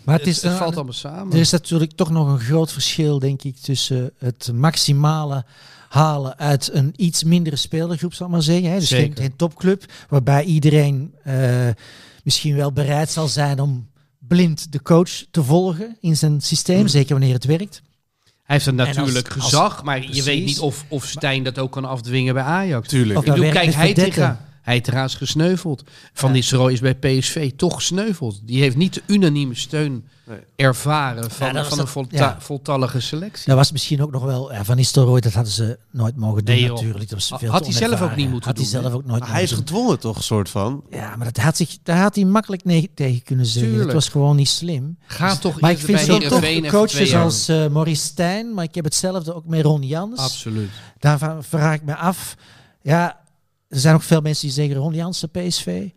Speaker 6: Maar
Speaker 3: het,
Speaker 6: het, is
Speaker 3: het
Speaker 6: dan- dus-
Speaker 3: valt allemaal samen.
Speaker 6: er is natuurlijk toch nog een groot verschil, denk ik, tussen het maximale halen uit een iets mindere spelergroep, zal ik maar zeggen. Hè. Dus geen,
Speaker 3: Zeker.
Speaker 6: geen topclub, waarbij iedereen eh, misschien wel bereid zal zijn om blind de coach te volgen in zijn
Speaker 3: Hmm.
Speaker 6: systeem, zeker wanneer het werkt.
Speaker 3: Hij heeft een
Speaker 6: als-
Speaker 3: natuurlijk
Speaker 6: als-
Speaker 3: gezag, maar je
Speaker 6: precies.
Speaker 3: weet niet of, of Stijn dat ook kan afdwingen bij Ajax.
Speaker 4: Tuurlijk.
Speaker 6: Of
Speaker 3: Ik bedoel,
Speaker 6: daar werkt
Speaker 3: kijk,
Speaker 6: met
Speaker 3: Heitinga.
Speaker 6: verdekken.
Speaker 3: Heitinga is gesneuveld. Van
Speaker 6: Ja.
Speaker 3: Nistelrooy is bij PSV toch gesneuveld. Die heeft niet de unanieme steun
Speaker 4: Nee.
Speaker 3: ervaren van,
Speaker 6: Ja, dat was
Speaker 3: van
Speaker 6: dat-
Speaker 3: een volta-
Speaker 6: ja.
Speaker 3: voltallige selectie.
Speaker 6: Dat was misschien ook nog wel, ja, van Nistelrooy, dat hadden ze nooit mogen doen
Speaker 3: Nee, joh.
Speaker 6: natuurlijk. Dat was
Speaker 3: Had
Speaker 6: veel te
Speaker 3: hij zelf ook
Speaker 6: onervaren.
Speaker 3: niet moeten
Speaker 6: had
Speaker 3: doen,
Speaker 6: Hij zelf
Speaker 3: hè?
Speaker 6: ook nooit
Speaker 4: Maar hij is
Speaker 6: moeten doen.
Speaker 4: gedwongen toch, soort van.
Speaker 6: Ja, maar dat had zich, daar had hij makkelijk nee tegen kunnen zeggen.
Speaker 3: Tuurlijk.
Speaker 6: Dat was gewoon niet slim.
Speaker 3: Ga toch
Speaker 6: Maar ik
Speaker 3: eerder
Speaker 6: vind
Speaker 3: bij
Speaker 6: ze dan
Speaker 3: Heerenveen
Speaker 6: toch
Speaker 3: even twee
Speaker 6: coaches
Speaker 3: jaar.
Speaker 6: als eh Maurice Stijn, maar ik heb hetzelfde ook met Ron Jans.
Speaker 3: Absoluut.
Speaker 6: Daarvan vraag ik me af. Ja, er zijn ook veel mensen die zeggen Ron Jans, de PSV.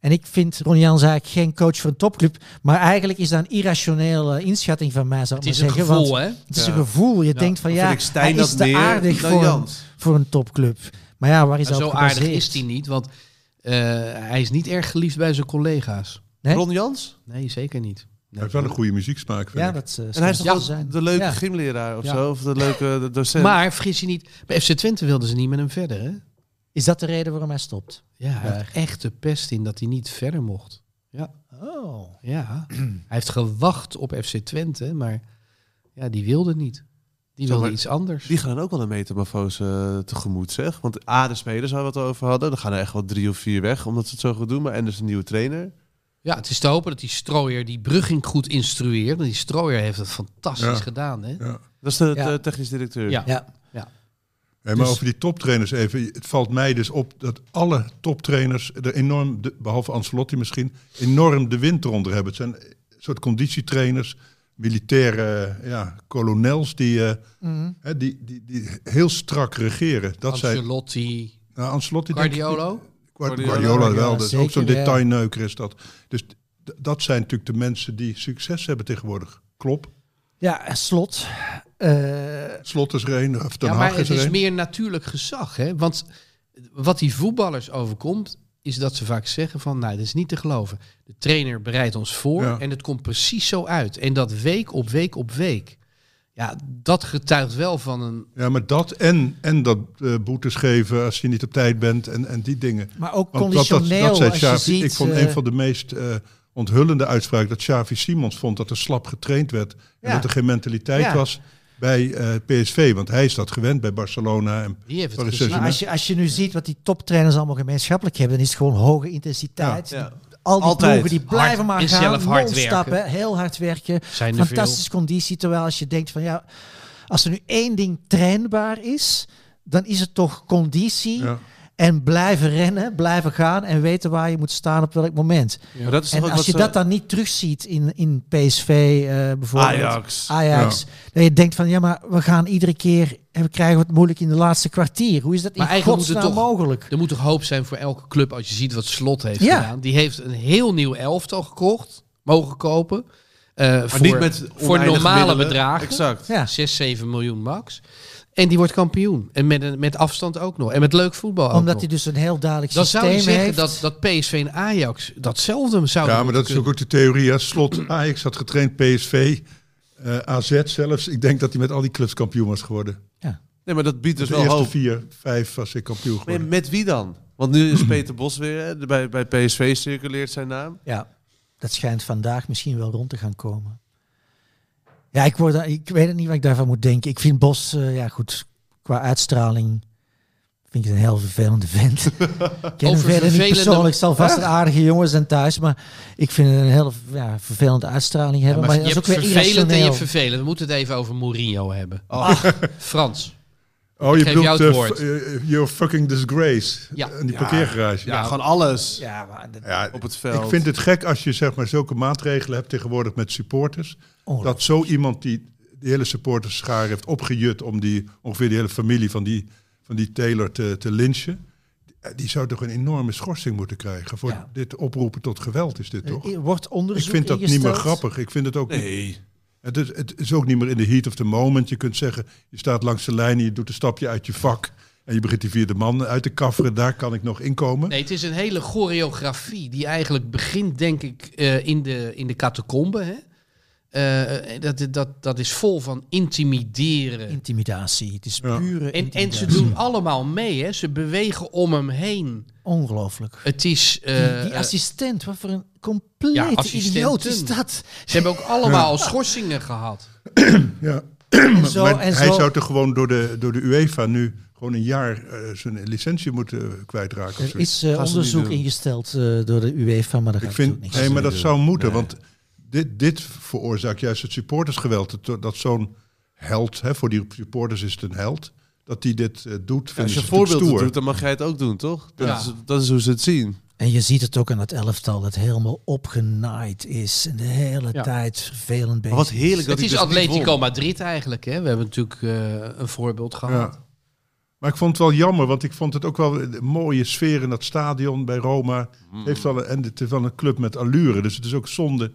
Speaker 6: En ik vind Ronnie Jans eigenlijk geen coach voor een topclub. Maar eigenlijk is dat een irrationele inschatting van mij, zou ik
Speaker 3: Het
Speaker 6: maar
Speaker 3: is een
Speaker 6: zeggen. want
Speaker 3: gevoel, hè?
Speaker 6: het is
Speaker 4: Ja.
Speaker 6: een gevoel. Je denkt van
Speaker 4: Dan
Speaker 6: ja,
Speaker 4: vind ik
Speaker 6: hij
Speaker 4: Stijn
Speaker 6: is
Speaker 4: dat
Speaker 6: te
Speaker 4: meer
Speaker 6: aardig
Speaker 4: dan
Speaker 6: voor een,
Speaker 4: Jans.
Speaker 6: voor een topclub. Maar ja, waar is dat
Speaker 3: zo
Speaker 6: op
Speaker 3: aardig
Speaker 6: gebaseerd?
Speaker 3: is hij niet, want eh, hij is niet erg geliefd bij zijn collega's.
Speaker 6: Hè?
Speaker 4: Ron Jans?
Speaker 3: Nee, zeker niet.
Speaker 2: Hij heeft wel een goede muzieksmaak, vind
Speaker 6: Ja,
Speaker 2: ik.
Speaker 6: dat eh, is
Speaker 4: En hij is toch
Speaker 3: Ja.
Speaker 4: wel de leuke
Speaker 6: Ja.
Speaker 4: gymleraar of
Speaker 3: Ja.
Speaker 4: zo? Of de leuke de docent?
Speaker 3: Maar vergis je niet, bij FC Twente wilden ze niet met hem verder, hè?
Speaker 6: Is dat de reden waarom hij stopt?
Speaker 3: Ja, hij heeft echt de pest in dat hij niet verder mocht.
Speaker 6: Oh.
Speaker 3: Ja, [clears throat] hij heeft gewacht op FC Twente, maar ja, die wilde niet. Die
Speaker 4: Zo,
Speaker 3: wilde
Speaker 4: maar
Speaker 3: iets anders.
Speaker 4: Die gaan dan ook wel een metamorfose eh, tegemoet, zeg. Want A, de spelers waar we het over hadden. Er gaan er echt wel drie of vier weg, omdat ze het zo goed doen. Maar en dus een nieuwe trainer.
Speaker 3: Ja, het is te hopen dat die strooier die Brugging goed instrueert. Want die strooier heeft het fantastisch
Speaker 2: Ja.
Speaker 3: gedaan, hè?
Speaker 2: Ja.
Speaker 4: Dat is de
Speaker 6: Ja.
Speaker 4: de technisch directeur.
Speaker 3: Ja.
Speaker 6: Ja.
Speaker 2: Hé, maar
Speaker 3: Dus-
Speaker 2: over die toptrainers even. Het valt mij dus op dat alle toptrainers er enorm, de- behalve Ancelotti misschien, enorm de wind eronder hebben. Het zijn een soort conditietrainers, militaire eh, ja, kolonels die, eh,
Speaker 6: Mhm.
Speaker 2: hè, die, die, die heel strak regeren. Dat zijn
Speaker 3: Ancelotti,
Speaker 2: nou, Ancelotti. denk ik niet.
Speaker 3: Guardiolo.
Speaker 2: Guard-
Speaker 4: Guardiola,
Speaker 2: Guardiola
Speaker 6: ja,
Speaker 2: wel, dat is ook zo'n
Speaker 6: zeker, ja.
Speaker 2: detailneuker is dat. Dus d- dat zijn natuurlijk de mensen die succes hebben tegenwoordig. Klopt.
Speaker 6: Ja, en slot. Eh,
Speaker 2: Slot is er een, of Den
Speaker 3: Ja,
Speaker 2: Haag
Speaker 3: maar
Speaker 2: is
Speaker 3: het
Speaker 2: er
Speaker 3: is
Speaker 2: een.
Speaker 3: meer natuurlijk gezag, hè? Want wat die voetballers overkomt, is dat ze vaak zeggen van, nou, dat is niet te geloven. De trainer bereidt ons voor
Speaker 2: Ja.
Speaker 3: en het komt precies zo uit. En dat week op week op week. Ja, dat getuigt wel van een...
Speaker 2: Ja, maar dat en, en dat eh, boetes geven als je niet op tijd bent en, en die dingen.
Speaker 6: maar ook
Speaker 2: Want dat, dat,
Speaker 6: conditioneel.
Speaker 2: dat zei
Speaker 6: als je
Speaker 2: Xavi.
Speaker 6: ziet,
Speaker 2: ik vond
Speaker 6: eh,
Speaker 2: een van de meest eh, onthullende uitspraken dat Xavi Simons vond dat er slap getraind werd en
Speaker 6: Ja.
Speaker 2: dat er geen mentaliteit
Speaker 6: Ja.
Speaker 2: was bij eh, PSV. Want hij is dat gewend bij Barcelona. En,
Speaker 3: Die heeft het
Speaker 2: Sorry,
Speaker 3: gezien.
Speaker 2: zus.
Speaker 6: Maar als je, als je nu ziet wat die toptrainers allemaal gemeenschappelijk hebben, dan is het gewoon hoge intensiteit.
Speaker 4: Ja.
Speaker 6: Al die
Speaker 4: Altijd.
Speaker 6: ploegen die blijven
Speaker 3: Hard
Speaker 6: maar
Speaker 3: en
Speaker 6: gaan,
Speaker 3: zelf hard
Speaker 6: non-stop,
Speaker 3: werken.
Speaker 6: hè, heel hard werken,
Speaker 3: Zijn er veel.
Speaker 6: fantastische conditie. Terwijl als je denkt van ja, als er nu één ding trainbaar is, dan is het toch conditie
Speaker 2: ja.
Speaker 6: en blijven rennen, blijven gaan en weten waar je moet staan op welk moment.
Speaker 4: Maar dat is toch
Speaker 6: En
Speaker 4: ook
Speaker 6: als
Speaker 4: wat
Speaker 6: je
Speaker 4: ze-
Speaker 6: dat
Speaker 3: eh,
Speaker 6: dan niet terugziet in, in PSV eh, bijvoorbeeld.
Speaker 4: Ajax.
Speaker 6: Ajax. Dat je denkt van ja, maar we gaan iedere keer en we krijgen het moeilijk in de laatste kwartier. Hoe is dat
Speaker 3: Maar
Speaker 6: in
Speaker 3: eigenlijk moet het
Speaker 6: godsnaam
Speaker 3: toch-
Speaker 6: mogelijk?
Speaker 3: Er moet toch hoop zijn voor elke club als je ziet wat Slot heeft
Speaker 6: Ja.
Speaker 3: gedaan. Die heeft een heel nieuw elftal gekocht, mogen kopen. eh,
Speaker 4: Maar
Speaker 3: voor,
Speaker 4: niet met
Speaker 3: voor
Speaker 4: oneindig
Speaker 3: normale
Speaker 4: middelen.
Speaker 3: bedragen.
Speaker 4: Exact.
Speaker 6: Ja.
Speaker 3: 6, 7 miljoen max. En die wordt kampioen. En met, een- met afstand ook nog. En met leuk voetbal ook
Speaker 6: Omdat
Speaker 3: nog.
Speaker 6: hij dus een heel duidelijk
Speaker 3: Dan zou je
Speaker 6: systeem
Speaker 3: zeggen
Speaker 6: heeft.
Speaker 3: dat, dat PSV en Ajax datzelfde zouden
Speaker 2: ja, maar dat is ook,
Speaker 3: kunnen.
Speaker 2: ook de theorie. Hè. Slot Ajax had getraind PSV, eh, AZ zelfs. Ik denk dat hij met al die clubs kampioen was geworden.
Speaker 4: Nee, maar dat biedt dus
Speaker 2: Dus de
Speaker 4: wel
Speaker 2: eerste
Speaker 4: hoop.
Speaker 2: vier, vijf was hij kampioen
Speaker 4: Maar
Speaker 2: geworden.
Speaker 4: met wie dan? Want nu is Peter Bos weer, hè, de- bij, bij PSV circuleert zijn naam.
Speaker 6: Ja, dat schijnt vandaag misschien wel rond te gaan komen. Ja, ik, word, daar- ik weet het niet wat ik daarvan moet denken. Ik vind Bos, eh, ja goed, qua uitstraling vind ik het een heel vervelende
Speaker 3: [laughs]
Speaker 6: vent. ik ken hem
Speaker 3: Over
Speaker 6: verder niet
Speaker 3: vervelende-
Speaker 6: persoonlijk, zal vast een aardige jongen zijn thuis, maar ik vind het een heel ja, vervelende uitstraling hebben.
Speaker 3: Ja,
Speaker 6: maar
Speaker 3: maar
Speaker 6: dat
Speaker 3: je
Speaker 6: is ook
Speaker 3: hebt
Speaker 6: weer
Speaker 3: vervelend en
Speaker 6: irrationeel.
Speaker 3: je vervelend. We moeten het even over Mourinho hebben. [laughs] Frans.
Speaker 2: Oh, je
Speaker 3: Geef
Speaker 2: bedoelt
Speaker 3: jou het
Speaker 2: eh,
Speaker 3: woord.
Speaker 2: f- eh, Your Fucking Disgrace.
Speaker 3: Ja.
Speaker 2: En die parkeergarage.
Speaker 4: Ja, gewoon alles
Speaker 6: ja, maar dat-
Speaker 2: Ja,
Speaker 4: op het veld.
Speaker 2: Ik vind het gek als je zeg maar zulke maatregelen hebt tegenwoordig met supporters.
Speaker 6: Ongelooflijk.
Speaker 2: Dat zo iemand die de hele supporterschaar heeft opgejut om die, ongeveer de hele familie van die, van die Taylor te, te lynchen. Die zou toch een enorme schorsing moeten krijgen voor
Speaker 6: Ja.
Speaker 2: dit oproepen tot geweld is
Speaker 4: Eh,
Speaker 2: dit toch?
Speaker 6: Er wordt
Speaker 2: Ik
Speaker 6: onderzoek
Speaker 2: vind dat niet meer
Speaker 6: ingesteld.
Speaker 2: grappig. Ik vind het ook niet-
Speaker 4: Nee.
Speaker 2: het, is, het is ook niet meer in de heat of the moment. Je kunt zeggen, je staat langs de lijn en je doet een stapje uit je vak. En je begint die vierde man uit te kafferen. Daar kan ik nog inkomen.
Speaker 3: Nee, het is een hele choreografie die eigenlijk begint, denk ik, eh, in de, in de catacombe. Hè? Eh, dat, dat, dat is vol van intimideren.
Speaker 6: Intimidatie. Het is
Speaker 2: Ja.
Speaker 6: pure
Speaker 3: en, en ze
Speaker 6: intimidatie.
Speaker 3: doen allemaal mee, hè? ze bewegen om hem heen.
Speaker 6: Ongelooflijk.
Speaker 3: Het is. eh,
Speaker 6: Die, die
Speaker 3: eh,
Speaker 6: assistent, wat voor een compleet
Speaker 3: Ja, assistenten.
Speaker 6: idioot is dat?
Speaker 3: ze hebben ook allemaal schorsingen gehad.
Speaker 2: Ja.
Speaker 6: En zo,
Speaker 2: maar
Speaker 6: en
Speaker 2: hij
Speaker 6: zo.
Speaker 2: zou toch gewoon door de, door de UEFA nu gewoon een jaar eh, zijn licentie moeten eh, kwijtraken. Of
Speaker 6: Er
Speaker 2: zoiets.
Speaker 6: is eh,
Speaker 4: Gaan ze
Speaker 6: onderzoek
Speaker 4: niet doen.
Speaker 6: ingesteld eh, door de UEFA, maar dat
Speaker 2: Ik
Speaker 6: gaat ook
Speaker 2: vind,
Speaker 6: niks.
Speaker 2: nee, maar dat
Speaker 4: Nee.
Speaker 2: zou moeten,
Speaker 4: Nee.
Speaker 2: want dit, dit veroorzaakt juist het supportersgeweld. Dat, dat zo'n held, hè, voor die supporters is het een held, dat die dit eh, doet, vinden
Speaker 4: Als je
Speaker 2: ze natuurlijk
Speaker 4: voorbeeld
Speaker 2: stoer.
Speaker 4: doet, dan mag jij het ook doen, toch? Dat,
Speaker 3: Ja.
Speaker 4: is, dat is hoe ze het zien.
Speaker 6: En je ziet het ook aan het elftal dat helemaal opgenaaid is en de hele
Speaker 3: Ja.
Speaker 6: tijd vervelend
Speaker 4: Maar
Speaker 6: bezig.
Speaker 4: wat heerlijk dat
Speaker 3: Het
Speaker 4: hij
Speaker 3: is
Speaker 4: dus niet won.
Speaker 3: Atletico Madrid eigenlijk. Hè? We hebben natuurlijk eh, een voorbeeld gehad.
Speaker 2: Ja. Maar ik vond het wel jammer, want ik vond het ook wel een mooie sfeer in dat stadion bij Roma.
Speaker 4: Mm.
Speaker 2: Heeft wel een, en het is wel een club met allure, dus het is ook zonde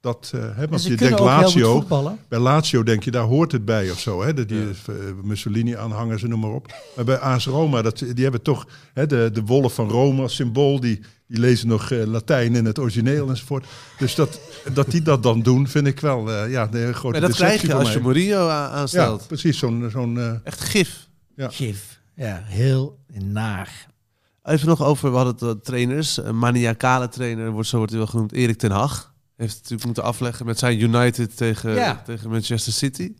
Speaker 2: dat... eh hè, want
Speaker 6: En
Speaker 4: Dus
Speaker 6: ze
Speaker 2: je
Speaker 6: kunnen
Speaker 2: denkt
Speaker 6: ook heel goed
Speaker 2: Lazio,
Speaker 6: voetballen.
Speaker 2: bij Lazio denk je, daar hoort het bij of zo. Hè? Dat die eh, Mussolini-aanhangers en noem maar op. Maar bij AS Roma, dat, die hebben toch hè, de, de wolf van Rome als symbool. Die, die lezen nog eh, Latijn in het origineel enzovoort. Dus dat, dat die dat dan doen, vind ik wel eh, ja, een grote
Speaker 4: En dat
Speaker 2: deceptie
Speaker 4: krijg je
Speaker 2: voor
Speaker 4: als
Speaker 2: mij.
Speaker 4: je Mourinho a-
Speaker 2: Ja,
Speaker 4: aanstelt.
Speaker 2: precies. Zo'n, zo'n, eh,
Speaker 4: Echt gif.
Speaker 2: Ja.
Speaker 6: Gif. Ja, heel naar.
Speaker 4: Even nog over, we hadden het eh, trainers. Een maniacale trainer, wordt, zo wordt hij wel genoemd, Erik ten Hag. Heeft het natuurlijk moeten afleggen met zijn United tegen,
Speaker 6: Ja.
Speaker 4: tegen Manchester City.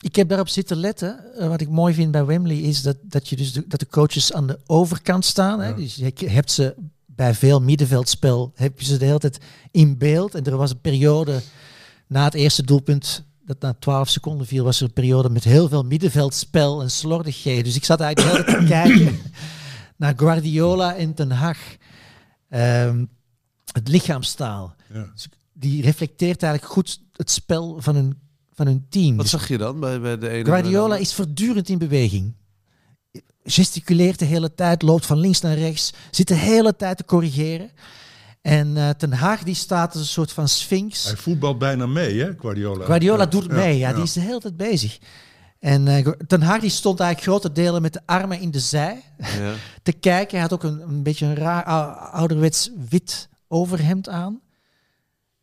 Speaker 6: Ik heb daarop zitten letten. Eh, wat ik mooi vind bij Wembley is dat, dat, je dus de, dat de coaches aan de overkant staan. Hè?
Speaker 2: Ja.
Speaker 6: Dus je je hebt ze bij veel middenveldspel heb je ze de hele tijd in beeld. En er was een periode na het eerste doelpunt, dat na 12 seconden viel, was er een periode met heel veel middenveldspel en slordigheden. Dus ik zat eigenlijk
Speaker 4: [coughs]
Speaker 6: de hele tijd te kijken naar Guardiola en Ten Hag. Ehm, het lichaamstaal.
Speaker 2: ja.
Speaker 6: Die reflecteert eigenlijk goed het spel van hun, van hun team.
Speaker 4: Wat
Speaker 6: Dus
Speaker 4: zag je dan bij, bij de ene?
Speaker 6: Guardiola
Speaker 4: en de
Speaker 6: is voortdurend in beweging. Gesticuleert de hele tijd, loopt van links naar rechts, zit de hele tijd te corrigeren. En eh, Ten Haag die staat als een soort van sphinx.
Speaker 2: Hij voetbalt bijna mee, hè, Guardiola.
Speaker 6: Guardiola
Speaker 2: Ja,
Speaker 6: doet het mee, ja, die is de hele tijd bezig. En eh, Gu- Ten Haag die stond eigenlijk grote delen met de armen in de zij
Speaker 4: ander? Ja.
Speaker 6: te kijken. Hij had ook een, een beetje een raar ou- ouderwets wit overhemd aan.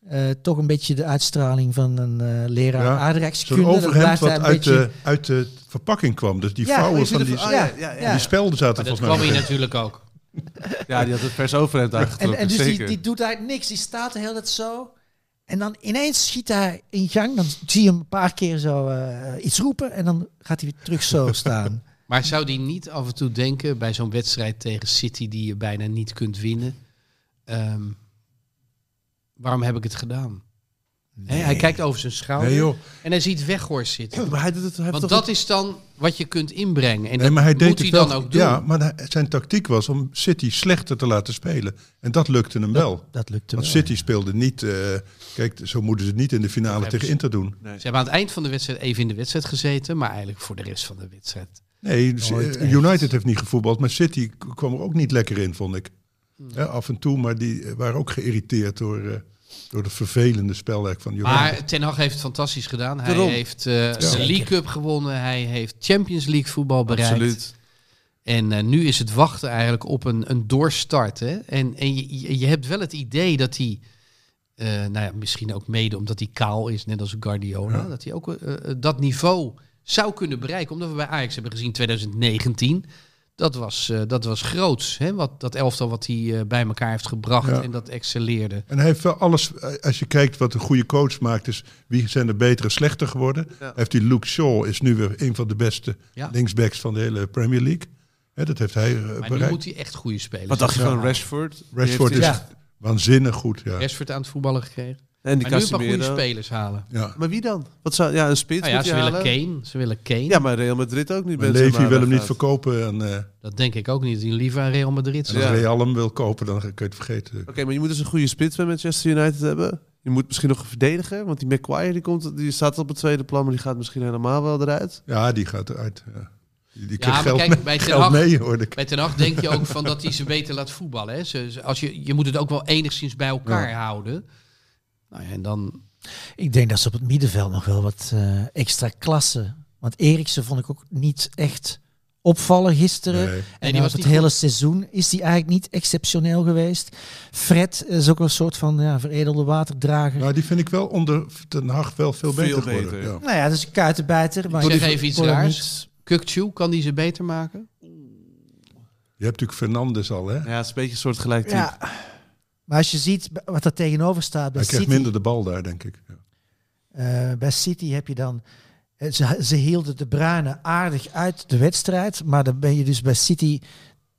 Speaker 6: Eh, toch een beetje de uitstraling van een eh, leraar
Speaker 2: Ja, Zo'n
Speaker 6: aardrijkskunde. Dat
Speaker 2: overhemd
Speaker 6: blijft
Speaker 2: wat
Speaker 6: hij een
Speaker 2: uit,
Speaker 6: beetje-
Speaker 2: de, uit de verpakking kwam. Dus die
Speaker 6: Ja,
Speaker 2: vouwen
Speaker 6: hoe
Speaker 2: van die,
Speaker 4: Ah,
Speaker 6: ja,
Speaker 4: ja, ja, ja.
Speaker 6: ja.
Speaker 2: die spelden zaten
Speaker 3: Maar
Speaker 2: volgens
Speaker 3: dat kwam
Speaker 2: mij.
Speaker 3: hier
Speaker 2: nog in.
Speaker 3: natuurlijk ook.
Speaker 4: Ja, die had het vers overhemd
Speaker 6: En,
Speaker 4: aangetrokken,
Speaker 6: en dus die,
Speaker 4: zeker.
Speaker 6: die doet eigenlijk niks. Die staat de hele tijd zo. En dan ineens schiet hij in gang. Dan zie je hem een paar keer zo eh, iets roepen. En dan gaat hij weer terug
Speaker 2: [laughs]
Speaker 6: zo staan.
Speaker 3: Maar zou die niet af en toe denken bij zo'n wedstrijd tegen City die je bijna niet kunt winnen? ehm, waarom heb ik het gedaan? Hè, hij kijkt over zijn schouder
Speaker 2: Nee, joh.
Speaker 3: en hij ziet Weghorst zitten.
Speaker 4: Maar hij doet het, hij heeft
Speaker 3: Want
Speaker 4: toch
Speaker 3: dat is dan wat je kunt inbrengen.
Speaker 2: Nee,
Speaker 3: En dat
Speaker 2: maar hij
Speaker 3: moet
Speaker 2: deed
Speaker 3: hij
Speaker 2: het wel.
Speaker 3: dan ook doen.
Speaker 2: Ja, maar hij- zijn tactiek was om City slechter te laten spelen. En dat lukte hem wel.
Speaker 6: Dat lukte
Speaker 2: Want
Speaker 6: wel.
Speaker 2: City speelde niet... eh, kijk, zo moeten ze het niet in de finale
Speaker 3: hebben
Speaker 2: tegen
Speaker 3: ze-
Speaker 2: Inter doen.
Speaker 3: Ze hebben aan het eind van de wedstrijd even in de wedstrijd gezeten, maar eigenlijk voor de rest van de wedstrijd.
Speaker 2: Nee,
Speaker 6: Nooit
Speaker 2: eh,
Speaker 6: echt.
Speaker 2: United heeft niet gevoetbald. Maar City k- kwam er ook niet lekker in, vond ik. Ja, af en toe, maar die eh, waren ook geïrriteerd door... eh, door het vervelende spelwerk van United.
Speaker 3: Maar Ten Hag heeft het fantastisch gedaan. Hij
Speaker 4: Daarom.
Speaker 3: heeft eh, de League Cup gewonnen. Hij heeft Champions League voetbal bereikt.
Speaker 4: Absoluut.
Speaker 3: En eh, nu is het wachten eigenlijk op een, een doorstart. Hè? En, en je, je- je hebt wel het idee dat hij, eh, nou ja, misschien ook mede omdat hij kaal is, net als Guardiola, dat hij ook eh, eh, dat niveau zou kunnen bereiken. Omdat we bij Ajax hebben gezien 2019. Dat was, eh, dat was groots. Hè? Wat, dat elftal wat hij eh, bij elkaar heeft gebracht
Speaker 2: Ja.
Speaker 3: en dat excelleerde.
Speaker 2: En hij heeft wel alles, eh, als je kijkt wat een goede coach maakt, is wie zijn er beter en slechter geworden. Hij Heeft die Luke Shaw is nu weer een van de beste
Speaker 3: Ja.
Speaker 2: linksbacks van de hele Premier League. Hè, dat heeft hij eh,
Speaker 3: Maar nu
Speaker 2: bereikt.
Speaker 3: moet hij echt goede spelers.
Speaker 4: Wat dacht je van
Speaker 3: hebben.
Speaker 4: Rashford? Die
Speaker 2: Rashford is
Speaker 4: heeft- dus-
Speaker 6: Ja.
Speaker 2: waanzinnig goed. Ja.
Speaker 3: Rashford aan het voetballen gekregen.
Speaker 4: En die
Speaker 3: Maar nu een paar
Speaker 4: Casemiro.
Speaker 3: goede spelers halen.
Speaker 2: Ja.
Speaker 4: Maar wie dan? Wat zou, ja, een spits
Speaker 3: Nou ja,
Speaker 4: moet je
Speaker 3: ze willen
Speaker 4: halen.
Speaker 3: Kane. Ze willen Kane.
Speaker 4: Ja, maar Real Madrid ook niet.
Speaker 2: Maar
Speaker 4: Benzema
Speaker 2: Levy wil hem niet
Speaker 4: weggaat.
Speaker 2: verkopen en, eh, en
Speaker 3: Dat denk ik ook niet. Die liever aan Real Madrid.
Speaker 4: Ja.
Speaker 3: zou-
Speaker 2: als Real hem wil kopen, dan kun je het vergeten.
Speaker 4: Oké, maar je moet dus een goede spits bij Manchester United hebben. Je moet misschien nog een verdediger, want die Maguire die komt, die staat op het tweede plan, maar die gaat misschien helemaal wel eruit.
Speaker 2: Ja, die gaat eruit. Ja. Die, die
Speaker 3: Ja,
Speaker 2: krijgt
Speaker 3: maar
Speaker 2: geld,
Speaker 3: kijk,
Speaker 2: mee,
Speaker 3: bij Ten
Speaker 2: geld
Speaker 3: Hag-
Speaker 2: mee, hoorde ik.
Speaker 3: Bij Ten Hag denk je ook van dat hij ze beter laat voetballen. Hè? Ze, ze- als je, je moet het ook wel enigszins bij elkaar houden. Nou ja, en dan...
Speaker 6: Ik denk dat ze op het middenveld nog wel wat eh, extra klasse. Want Eriksen vond ik ook niet echt opvallen gisteren.
Speaker 2: Nee.
Speaker 6: En
Speaker 3: die was
Speaker 6: op het
Speaker 3: niet
Speaker 6: hele seizoen is hij eigenlijk niet exceptioneel geweest. Fred is ook een soort van ja, veredelde waterdrager.
Speaker 2: Nou, die vind ik wel onder Ten Hag wel veel
Speaker 4: Veel
Speaker 2: beter geworden.
Speaker 4: beter.
Speaker 2: Ja.
Speaker 6: Nou ja, dat is een kuitenbijter. Maar
Speaker 3: zeg
Speaker 6: ik
Speaker 3: even iets
Speaker 6: vond hem
Speaker 3: raars.
Speaker 6: niet-
Speaker 3: Kukchu, kan die ze beter maken?
Speaker 2: Je hebt natuurlijk Fernandes al, hè?
Speaker 4: Ja, het is een beetje een soort gelijk type.
Speaker 6: Ja. Maar als je ziet b- wat er tegenover staat bij
Speaker 2: Hij krijgt
Speaker 6: City,
Speaker 2: minder de bal daar, denk ik. Ja.
Speaker 6: eh, bij City heb je dan... eh, Ze, ze hielden de Bruyne aardig uit de wedstrijd, maar dan ben je dus bij City...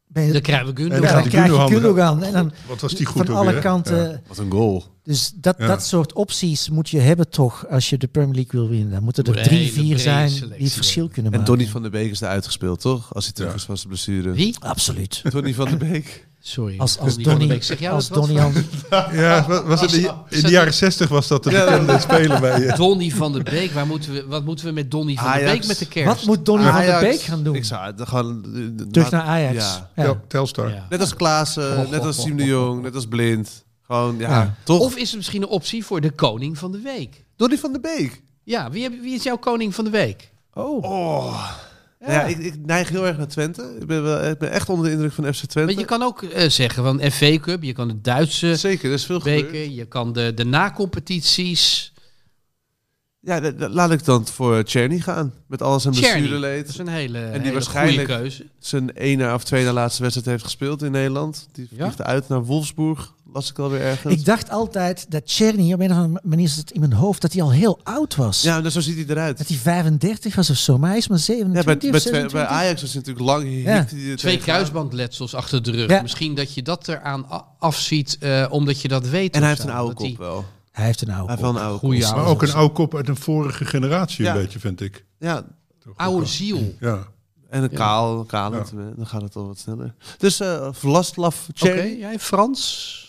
Speaker 6: Ben je,
Speaker 3: Dan krijgen we
Speaker 2: En
Speaker 6: dan
Speaker 3: Gundogan.
Speaker 2: gaat die
Speaker 6: krijg je
Speaker 2: Gundogan
Speaker 6: Gundogan. En dan
Speaker 2: Wat was die goed
Speaker 6: van
Speaker 2: ook
Speaker 6: alle
Speaker 2: weer, hè?
Speaker 6: kanten...
Speaker 2: Ja.
Speaker 4: Wat een goal.
Speaker 6: Dus dat,
Speaker 2: Ja.
Speaker 6: dat soort opties moet je hebben toch als je de Premier League wil winnen. Dan moeten er
Speaker 3: Moet een
Speaker 6: drie,
Speaker 3: hele
Speaker 6: vier
Speaker 3: brede
Speaker 6: zijn die
Speaker 3: selectie
Speaker 6: het verschil kunnen
Speaker 4: En
Speaker 6: maken.
Speaker 4: Donny van der Beek is eruit gespeeld, toch? Als hij terug
Speaker 2: Ja.
Speaker 4: is van zijn blessure.
Speaker 3: Wie?
Speaker 6: Absoluut.
Speaker 4: Donny van der Beek.
Speaker 3: Sorry.
Speaker 6: Als-
Speaker 3: ik
Speaker 6: als
Speaker 3: wil niet onderbreken.
Speaker 6: Donny-
Speaker 3: Dus Ik zeg, ja,
Speaker 6: als
Speaker 3: wat- wat
Speaker 6: Donny
Speaker 3: voor-
Speaker 6: Hans.
Speaker 2: Ja, wa- was het in, in de jaren zestig was dat de
Speaker 4: Ja,
Speaker 2: bekende speler bij eh, je.
Speaker 3: Donny van de Beek, waar moeten we, wat moeten we met Donny van de
Speaker 4: Ajax.
Speaker 3: Beek met de kerst?
Speaker 6: Wat moet Donny van der
Speaker 4: Ajax,
Speaker 6: Beek gaan doen?
Speaker 4: Ik zou het gewoon... eh,
Speaker 6: Terug
Speaker 4: laat-
Speaker 6: naar Ajax.
Speaker 4: Ja.
Speaker 6: Ja.
Speaker 2: Tel- Telstar.
Speaker 3: Ja.
Speaker 4: Net als Klaassen,
Speaker 3: Och,
Speaker 4: net
Speaker 3: och,
Speaker 4: als
Speaker 3: och,
Speaker 4: Siem de
Speaker 3: och,
Speaker 4: Jong, net als Blind. Gewoon, Oh. ja,
Speaker 6: Ja.
Speaker 4: toch?
Speaker 3: Of is er misschien een optie voor de koning van de week?
Speaker 4: Donny van de Beek.
Speaker 3: Ja, wie, heb- wie is jouw koning van de week?
Speaker 4: Oh. Ja, ik, ik neig heel erg naar Twente. Ik ben, wel, ik ben echt onder de indruk van FC Twente.
Speaker 3: Want je kan ook eh, zeggen van FV Cup, je kan de Duitse
Speaker 4: Zeker, er is veel gebeurd.
Speaker 3: beker, je kan de, de nacompetities.
Speaker 4: Ja, da- da- laat ik dan voor Czerny gaan. Met al zijn
Speaker 3: Tjerny,
Speaker 4: blessureleed.
Speaker 3: Dat is een hele, en
Speaker 4: die
Speaker 3: hele goede
Speaker 4: waarschijnlijk-
Speaker 3: keuze.
Speaker 4: zijn ene of tweede laatste wedstrijd heeft gespeeld in Nederland. Die
Speaker 3: Ja?
Speaker 4: vliegt uit naar Wolfsburg, las ik alweer ergens.
Speaker 6: Ik dacht altijd dat Cherny, op een of andere manier zit het in mijn hoofd, dat hij al heel oud was.
Speaker 4: ja, dus zo ziet hij eruit.
Speaker 6: Dat hij 35 was of zo, maar hij is maar
Speaker 4: Ja,
Speaker 6: 27
Speaker 4: bij,
Speaker 6: of
Speaker 4: bij, Twe-
Speaker 6: 26.
Speaker 4: bij Ajax was hij natuurlijk lang. hier
Speaker 6: Ja.
Speaker 4: hiekte hij er
Speaker 3: Twee
Speaker 4: tegenaan.
Speaker 3: kruisbandletsels achter de rug.
Speaker 6: Ja.
Speaker 3: Misschien dat je dat eraan a- afziet eh, omdat je dat weet.
Speaker 4: En
Speaker 3: of
Speaker 4: hij heeft
Speaker 3: zo.
Speaker 4: een oude
Speaker 3: Dat die-
Speaker 4: kop wel.
Speaker 6: Hij heeft een oude
Speaker 4: Hij heeft
Speaker 6: kop.
Speaker 4: wel een oude
Speaker 3: Goeie
Speaker 4: kop.
Speaker 3: oude
Speaker 2: Maar ook een oude kop uit een vorige generatie, een
Speaker 4: Ja.
Speaker 2: beetje, vind ik.
Speaker 4: Ja, eh,
Speaker 3: Oude ziel.
Speaker 2: Ja.
Speaker 4: en een
Speaker 3: Ja.
Speaker 4: kaal, kaal
Speaker 2: Ja.
Speaker 4: dan gaat het al wat sneller. Dus eh Vlaslav
Speaker 3: Oké,
Speaker 4: Czerny.
Speaker 3: jij Frans?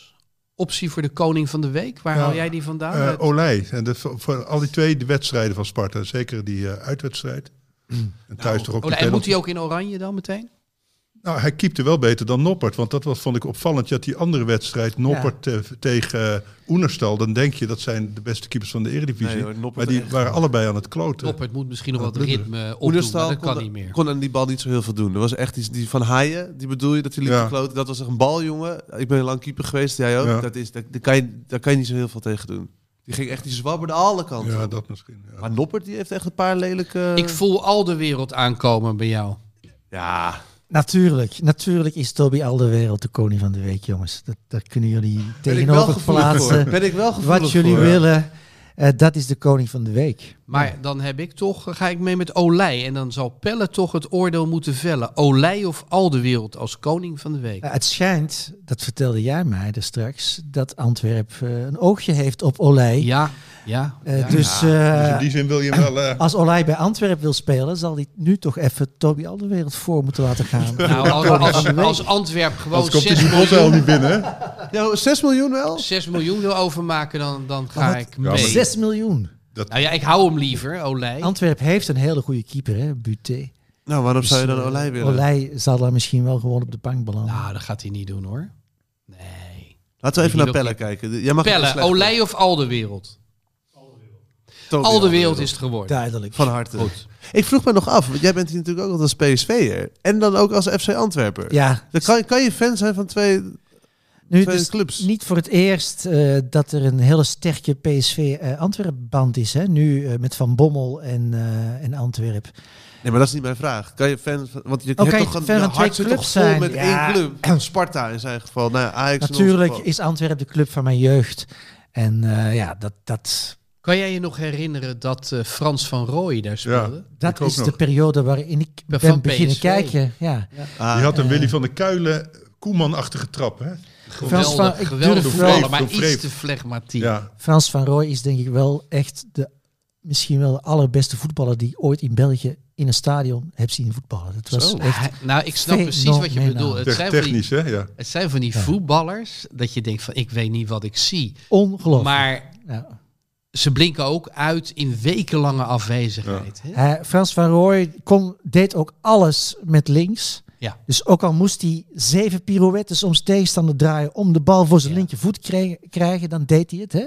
Speaker 3: Optie voor de koning van de week. Waar
Speaker 2: Ja.
Speaker 3: haal jij die vandaan?
Speaker 2: Eh,
Speaker 3: Uit-
Speaker 2: Olij. En de, voor, voor al die twee de wedstrijden van Sparta. Zeker die eh, uitwedstrijd. En thuis toch ook
Speaker 3: Oh,
Speaker 2: de
Speaker 3: en moet
Speaker 2: penalty.
Speaker 3: hij ook in oranje dan meteen?
Speaker 2: Nou, hij keepte wel beter dan Noppert. Want dat was, vond ik opvallend. Je had die andere wedstrijd, Noppert eh, tegen eh, Oenerstal. Dan denk je, dat zijn de beste keepers van de Eredivisie.
Speaker 4: Nee, hoor, Noppert
Speaker 2: maar die
Speaker 4: echt.
Speaker 2: waren allebei aan het kloten.
Speaker 3: Noppert moet misschien nog
Speaker 2: Ja,
Speaker 3: wat
Speaker 2: Blunder.
Speaker 3: ritme opdoen, maar
Speaker 4: Oenerstal
Speaker 3: dat
Speaker 4: kon,
Speaker 3: kan niet meer.
Speaker 4: kon aan die bal niet zo heel veel doen. Er was echt die, die van Haaien, die bedoel je, dat hij liep
Speaker 2: Ja.
Speaker 4: te kloten. Dat was echt een bal, jongen. Ik ben lang keeper geweest, jij ook.
Speaker 2: Ja.
Speaker 4: Dat is, dat, daar, kan je, daar kan je niet zo heel veel tegen doen. Die ging echt, die zwabberde alle kanten.
Speaker 2: Ja, dat misschien. ja.
Speaker 4: Maar Noppert, die heeft echt een paar lelijke...
Speaker 3: Ik voel al de wereld aankomen bij jou.
Speaker 4: Ja,
Speaker 6: Natuurlijk, natuurlijk is Toby Alderwereld de koning van de week, jongens. Dat, daar kunnen jullie
Speaker 4: ben ik wel
Speaker 6: tegenover
Speaker 4: gevoelig voor.
Speaker 6: plaatsen.
Speaker 4: Ben ik wel gevoelig
Speaker 6: Wat jullie
Speaker 4: voor.
Speaker 6: willen, eh, dat is de koning van de week.
Speaker 3: Maar dan heb ik toch, ga ik mee met Olij. En dan zal Pelle toch het oordeel moeten vellen. Olij of al de wereld als koning van de week.
Speaker 6: Nou, het schijnt, dat vertelde jij mij er straks, dat Antwerp eh, een oogje heeft op Olij.
Speaker 3: Ja, ja.
Speaker 6: Eh,
Speaker 3: ja.
Speaker 6: dus
Speaker 2: Dus in
Speaker 6: eh,
Speaker 2: die zin wil je hem wel...
Speaker 4: [laughs]
Speaker 2: eh,
Speaker 6: als Olij bij Antwerp wil spelen, zal hij nu toch even Toby Alderwereld voor moeten laten
Speaker 3: [laughs]
Speaker 6: gaan. [laughs]
Speaker 3: Nou, als, als, als Antwerp gewoon
Speaker 2: anders komt hij
Speaker 3: 6
Speaker 2: die
Speaker 3: miljoen,
Speaker 2: bos al niet binnen, hè?
Speaker 4: Ja, 6 Nou, miljoen wel?
Speaker 3: 6 miljoen wil overmaken, dan, dan ga
Speaker 6: Wat?
Speaker 3: ik
Speaker 2: maar
Speaker 3: mee.
Speaker 6: 6 miljoen.
Speaker 3: Nou ja, ik hou hem liever, Olij.
Speaker 6: Antwerp heeft een hele goede keeper, hè, Buté.
Speaker 4: Nou, waarom zou je dan
Speaker 6: Dus, eh,
Speaker 4: Olij willen?
Speaker 6: Olij zal daar misschien wel gewoon op de bank belanden.
Speaker 3: Nou, dat gaat hij niet doen hoor. Nee.
Speaker 4: Laten we
Speaker 3: Die
Speaker 4: even naar
Speaker 3: wil
Speaker 4: Pelle
Speaker 3: ik-
Speaker 4: kijken. Jij mag het
Speaker 3: Pelle,
Speaker 4: slecht doen.
Speaker 3: Olij of al de wereld?
Speaker 4: Toby
Speaker 3: Al de wereld is het geworden.
Speaker 6: Duidelijk.
Speaker 4: Van harte.
Speaker 3: Goed.
Speaker 4: Ik vroeg me nog af, want jij bent hier natuurlijk ook altijd als PSV'er. En dan ook als FC Antwerper.
Speaker 6: Ja,
Speaker 4: Dan kan, kan je fan zijn van twee...
Speaker 6: nu het
Speaker 4: Twee
Speaker 6: is
Speaker 4: clubs.
Speaker 6: niet voor het eerst eh, dat er een hele sterke PSV eh Antwerp-band is. Hè? Nu eh, met Van Bommel en, eh en Antwerp.
Speaker 4: Nee, maar dat is niet mijn vraag. Kan je fan... van- Want je
Speaker 6: Oké,
Speaker 4: hebt toch een,
Speaker 6: fan
Speaker 4: je
Speaker 6: van twee
Speaker 4: hart zit toch
Speaker 6: clubs
Speaker 4: vol
Speaker 6: zijn,
Speaker 4: met één
Speaker 6: ja.
Speaker 4: club. [clears throat] Sparta in zijn geval. Nou, ja, Ajax in ons
Speaker 6: Natuurlijk
Speaker 4: geval.
Speaker 6: is Antwerp de club van mijn jeugd. En eh, ja, dat, dat,
Speaker 3: Kan jij je nog herinneren dat eh, Frans van Rooij daar speelde?
Speaker 6: dat
Speaker 2: Ik ook
Speaker 6: is
Speaker 2: nog.
Speaker 6: de periode waarin ik
Speaker 3: Van
Speaker 6: ben beginnen
Speaker 3: PSV.
Speaker 6: kijken. Ja.
Speaker 4: Ah,
Speaker 2: Je had een
Speaker 6: eh,
Speaker 2: Willy van der Kuilen, Koeman-achtige trap, hè?
Speaker 6: Frans van-
Speaker 3: Geweldig,
Speaker 6: ik
Speaker 3: geweldig
Speaker 2: durf-
Speaker 3: voetballer,
Speaker 2: Vreef,
Speaker 3: maar
Speaker 2: doe
Speaker 3: iets
Speaker 2: vreef.
Speaker 3: te flegmatiek.
Speaker 2: Ja.
Speaker 6: Frans van Rooij is denk ik wel echt de, misschien wel de allerbeste voetballer die ik ooit in België in een stadion heb zien voetballen. Dat was
Speaker 3: Zo.
Speaker 6: echt
Speaker 3: Hij- nou, ik snap precies wat je
Speaker 6: fenomenaal.
Speaker 3: bedoelt. Het
Speaker 2: Tech-
Speaker 3: zijn, van die,
Speaker 2: technisch, hè? Ja.
Speaker 3: het zijn van die
Speaker 6: Ja.
Speaker 3: voetballers dat je denkt van ik weet niet wat ik zie.
Speaker 6: ongelooflijk.
Speaker 3: Maar
Speaker 6: Ja.
Speaker 3: ze blinken ook uit in wekenlange afwezigheid. hè?
Speaker 6: Hij- Frans van Rooij kon, deed ook alles met links.
Speaker 3: Ja.
Speaker 6: Dus ook al moest hij zeven pirouettes om zijn tegenstander draaien om de bal voor zijn
Speaker 3: Ja.
Speaker 6: linkervoet kregen- krijgen, dan deed hij het. Hè?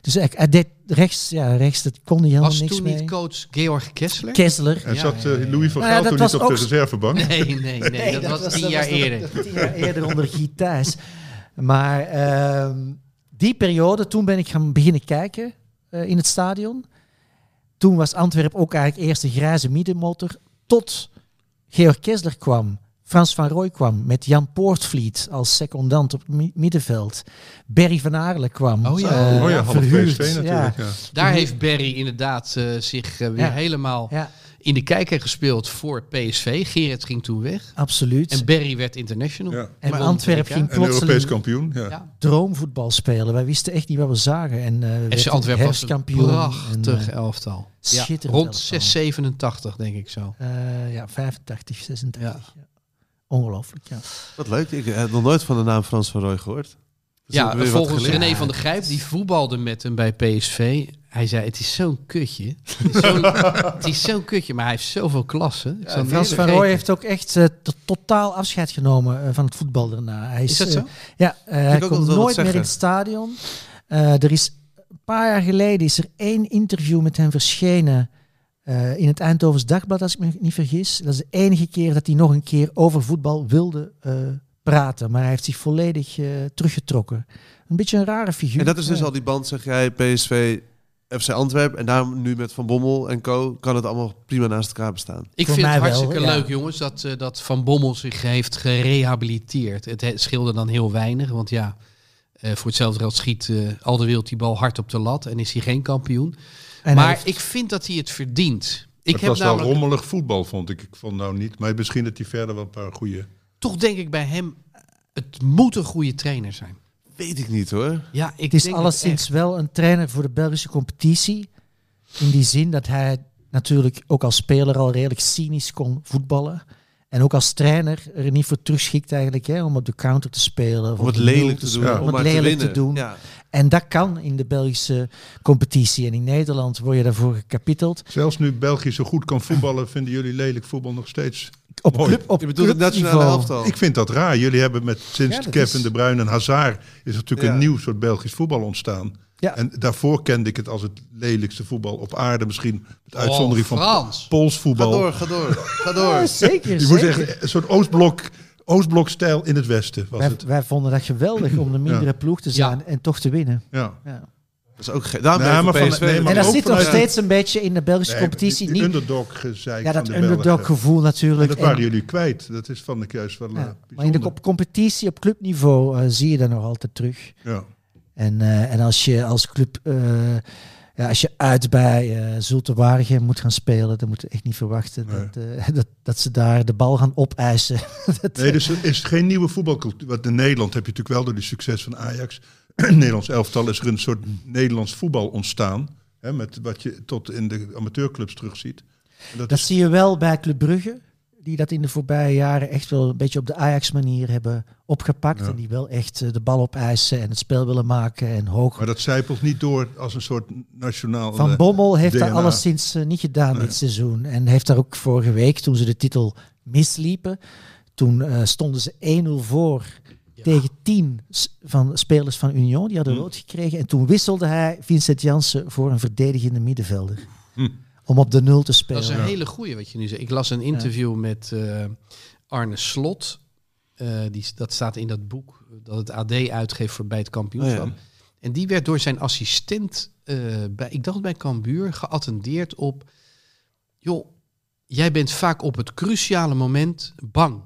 Speaker 6: Dus hij, hij deed rechts, ja, rechts, dat kon hij helemaal
Speaker 3: Was
Speaker 6: niks
Speaker 3: toen
Speaker 6: mee.
Speaker 3: niet coach Georg Kessler?
Speaker 6: Kessler.
Speaker 2: En
Speaker 3: Ja,
Speaker 2: zat
Speaker 3: ja, ja,
Speaker 2: eh,
Speaker 3: ja.
Speaker 2: Louis van
Speaker 6: Nou ja,
Speaker 2: Gaal
Speaker 6: dat
Speaker 2: toen
Speaker 6: was
Speaker 2: niet op
Speaker 6: ook
Speaker 2: de
Speaker 6: zo-
Speaker 2: reservebank?
Speaker 3: [laughs] Nee, nee, nee. dat, was tien
Speaker 6: dat
Speaker 3: jaar
Speaker 6: was nog-
Speaker 3: eerder.
Speaker 6: [laughs] Tien jaar eerder onder Guy Thijs. Maar ehm, die periode, toen ben ik gaan beginnen kijken eh, in het stadion. Toen was Antwerpen ook eigenlijk eerst een grijze middenmotor. Tot Georg Kessler kwam, Frans van Rooij kwam met Jan Poortvliet als secondant op het mi- middenveld. Berry van Aarle kwam.
Speaker 3: Oh ja.
Speaker 6: eh,
Speaker 2: oh ja, half
Speaker 6: verhuurd.
Speaker 2: PSV natuurlijk. Ja.
Speaker 3: Daar heeft Barry inderdaad eh, zich eh, weer
Speaker 6: Ja.
Speaker 3: helemaal
Speaker 6: Ja,
Speaker 3: in de kijker gespeeld voor PSV. Gerrit ging toen weg.
Speaker 6: absoluut.
Speaker 3: En
Speaker 6: En,
Speaker 3: Barry werd international.
Speaker 2: Ja.
Speaker 3: En won
Speaker 6: Antwerp
Speaker 3: het WK.
Speaker 6: ging
Speaker 2: En Europees
Speaker 6: plotseling
Speaker 2: kampioen. Ja.
Speaker 3: Ja.
Speaker 6: droomvoetbal spelen. Wij wisten echt niet wat we zagen. En, eh
Speaker 3: FC Antwerpen was een
Speaker 6: kampioen.
Speaker 3: prachtig elftal. Ja,
Speaker 6: eh, schitterend
Speaker 3: rond
Speaker 6: elftal.
Speaker 3: 687 denk ik zo.
Speaker 6: Eh, ja, 85, 86.
Speaker 3: Ja.
Speaker 6: ja. Ongelooflijk, ja.
Speaker 4: Wat leuk. Ik heb nog nooit van de naam Frans van Rooij gehoord. Dus ik heb
Speaker 3: Ja,
Speaker 4: weer wat
Speaker 3: volgens
Speaker 4: geleerd.
Speaker 3: René van der Grijp, die voetbalde met hem bij PSV. Hij zei, het is zo'n kutje. Het is
Speaker 6: [laughs]
Speaker 3: zo'n, het is zo'n kutje, maar hij heeft zoveel klassen. Ik zal het
Speaker 6: Frans
Speaker 3: niet
Speaker 6: van Rooij
Speaker 3: vergeten.
Speaker 6: heeft ook echt eh, to- totaal afscheid genomen eh, van het voetbal daarna. Hij
Speaker 3: Is dat
Speaker 6: eh,
Speaker 3: zo?
Speaker 6: ja, eh, hij
Speaker 4: ook altijd
Speaker 6: komt
Speaker 4: wel wat
Speaker 6: nooit meer in
Speaker 4: zeggen.
Speaker 6: het stadion. Eh, er is een paar jaar geleden is er één interview met hem verschenen eh, in het Eindhovens Dagblad, als ik me niet vergis. Dat is de enige keer dat hij nog een keer over voetbal wilde eh, praten. Maar hij heeft zich volledig eh, teruggetrokken. Een beetje een rare figuur. Eh,
Speaker 4: En dat is dus
Speaker 6: Ja.
Speaker 4: al die band, zeg jij, PSV, FC Antwerpen. En daarom nu met Van Bommel en co. kan het allemaal prima naast elkaar bestaan.
Speaker 3: Ik
Speaker 6: Voor
Speaker 3: vind het
Speaker 6: mij wel,
Speaker 3: hartstikke
Speaker 6: ja.
Speaker 3: leuk, jongens, dat, eh, dat Van Bommel zich heeft gerehabiliteerd. Het he- scheelde dan heel weinig, want ja, eh, voor hetzelfde geld schiet eh, al de wereld die bal hard op de lat en is hij geen kampioen.
Speaker 6: En hij
Speaker 3: maar
Speaker 6: heeft-
Speaker 3: ik vind dat hij het verdient. Ik
Speaker 2: het
Speaker 3: heb
Speaker 2: was wel
Speaker 3: namelijk
Speaker 2: rommelig voetbal, vond ik. Ik vond nou niet. Maar misschien dat hij verder wel een paar goede...
Speaker 3: toch denk ik bij hem, het moet een goede trainer zijn.
Speaker 4: Weet ik niet hoor.
Speaker 3: Ja, ik
Speaker 6: Het is
Speaker 3: denk
Speaker 6: alleszins wel een trainer voor de Belgische competitie. In die zin dat hij natuurlijk ook als speler al redelijk cynisch kon voetballen. En ook als trainer er niet voor terugschikt eigenlijk hè, om op de counter te spelen.
Speaker 4: Om
Speaker 6: of op
Speaker 4: het
Speaker 6: de nul
Speaker 4: lelijk te doen.
Speaker 2: Ja.
Speaker 4: Om
Speaker 6: Om
Speaker 4: maar
Speaker 6: het
Speaker 4: te
Speaker 6: lelijk te
Speaker 4: winnen.
Speaker 6: doen.
Speaker 4: Ja.
Speaker 6: En dat kan in de Belgische competitie. En in Nederland word je daarvoor gekapiteld.
Speaker 2: Zelfs nu België zo goed kan voetballen, [laughs] vinden jullie lelijk voetbal nog steeds.
Speaker 6: Op
Speaker 2: Mooi.
Speaker 6: club, op
Speaker 4: Je bedoelt het nationale
Speaker 6: clubniveau.
Speaker 4: elftal.
Speaker 2: Ik vind dat raar. Jullie hebben met sinds
Speaker 6: Ja, dat
Speaker 2: Kevin
Speaker 6: is-
Speaker 2: de Bruyne en Hazard is natuurlijk
Speaker 4: Ja.
Speaker 2: een nieuw soort Belgisch voetbal ontstaan.
Speaker 6: Ja.
Speaker 2: En daarvoor kende ik het als het lelijkste voetbal op aarde misschien. Met
Speaker 3: echt-
Speaker 2: uitzondering
Speaker 3: Oh,
Speaker 2: van
Speaker 3: Frans.
Speaker 2: Pools
Speaker 4: Ga
Speaker 2: voetbal.
Speaker 4: door, ga door. Ga door. [laughs]
Speaker 6: Ja, zeker,
Speaker 2: Je moet
Speaker 6: zeker.
Speaker 2: zeggen, een soort Oostblok, Oostblokstijl in het Westen was
Speaker 6: Wij,
Speaker 2: het.
Speaker 6: wij vonden dat geweldig om de mindere ploeg te zijn en toch te winnen.
Speaker 2: Ja.
Speaker 6: Ja.
Speaker 4: Dat is ook ge- Daarom
Speaker 2: Nee,
Speaker 4: ben ik
Speaker 2: maar
Speaker 4: voor
Speaker 2: van-
Speaker 4: PSV.
Speaker 2: nee, maar
Speaker 6: En dat
Speaker 2: ook
Speaker 6: zit nog
Speaker 2: vanuit-
Speaker 6: steeds een beetje in de Belgische
Speaker 2: Nee,
Speaker 6: competitie.
Speaker 2: die, die
Speaker 6: Niet,
Speaker 2: underdog gezeik
Speaker 6: Ja, dat
Speaker 2: van de Belgen.
Speaker 6: underdog gevoel
Speaker 2: En
Speaker 6: natuurlijk.
Speaker 2: dat
Speaker 6: En-
Speaker 2: waren jullie kwijt. Dat is van de juist wel eh,
Speaker 6: ja, maar in de
Speaker 2: bijzonder.
Speaker 6: co- competitie op clubniveau eh, zie je dat nog altijd terug.
Speaker 2: Ja.
Speaker 6: En, eh, en als je als club, eh, ja, als je uit bij eh Zulte Waregem moet gaan spelen, dan moet je echt niet verwachten
Speaker 2: Nee.
Speaker 6: dat, eh, [laughs] dat, dat ze daar de bal gaan opeisen. dat,
Speaker 2: Nee, dus er is geen nieuwe voetbalcultuur. Want in Nederland heb je natuurlijk wel door die succes van Ajax. [clears throat] het Nederlands elftal is er een soort Nederlands voetbal ontstaan. Hè, met wat je tot in de amateurclubs terugziet. En dat
Speaker 6: dat
Speaker 2: is,
Speaker 6: zie je wel bij Club Brugge, die dat in de voorbije jaren echt wel een beetje op de Ajax-manier hebben opgepakt.
Speaker 2: Ja.
Speaker 6: En die wel echt eh, de bal opeisen en het spel willen maken en hoog
Speaker 2: maar dat zijpelt niet door als een soort nationaal...
Speaker 6: Van
Speaker 2: eh,
Speaker 6: Bommel heeft dat
Speaker 2: DNA.
Speaker 6: alleszins eh, niet gedaan dit seizoen. En heeft daar ook vorige week, toen ze de titel misliepen, toen eh, stonden ze 1-0 voor tegen 10 s- van spelers van Union. Die
Speaker 2: Hm.
Speaker 6: hadden rood gekregen. En toen wisselde hij Vincent Jansen voor een verdedigende middenvelder.
Speaker 2: Hm.
Speaker 6: Om op de 0 te spelen.
Speaker 3: Dat is een hele goeie wat je nu zegt. Ik las een interview met eh, Arne Slot. Eh, die, dat staat in dat boek eh, dat het AD uitgeeft voor bij het kampioenschap.
Speaker 4: Oh ja.
Speaker 3: En die werd door zijn assistent, eh, bij, ik dacht bij Cambuur, geattendeerd op... joh, jij bent vaak op het cruciale moment bang.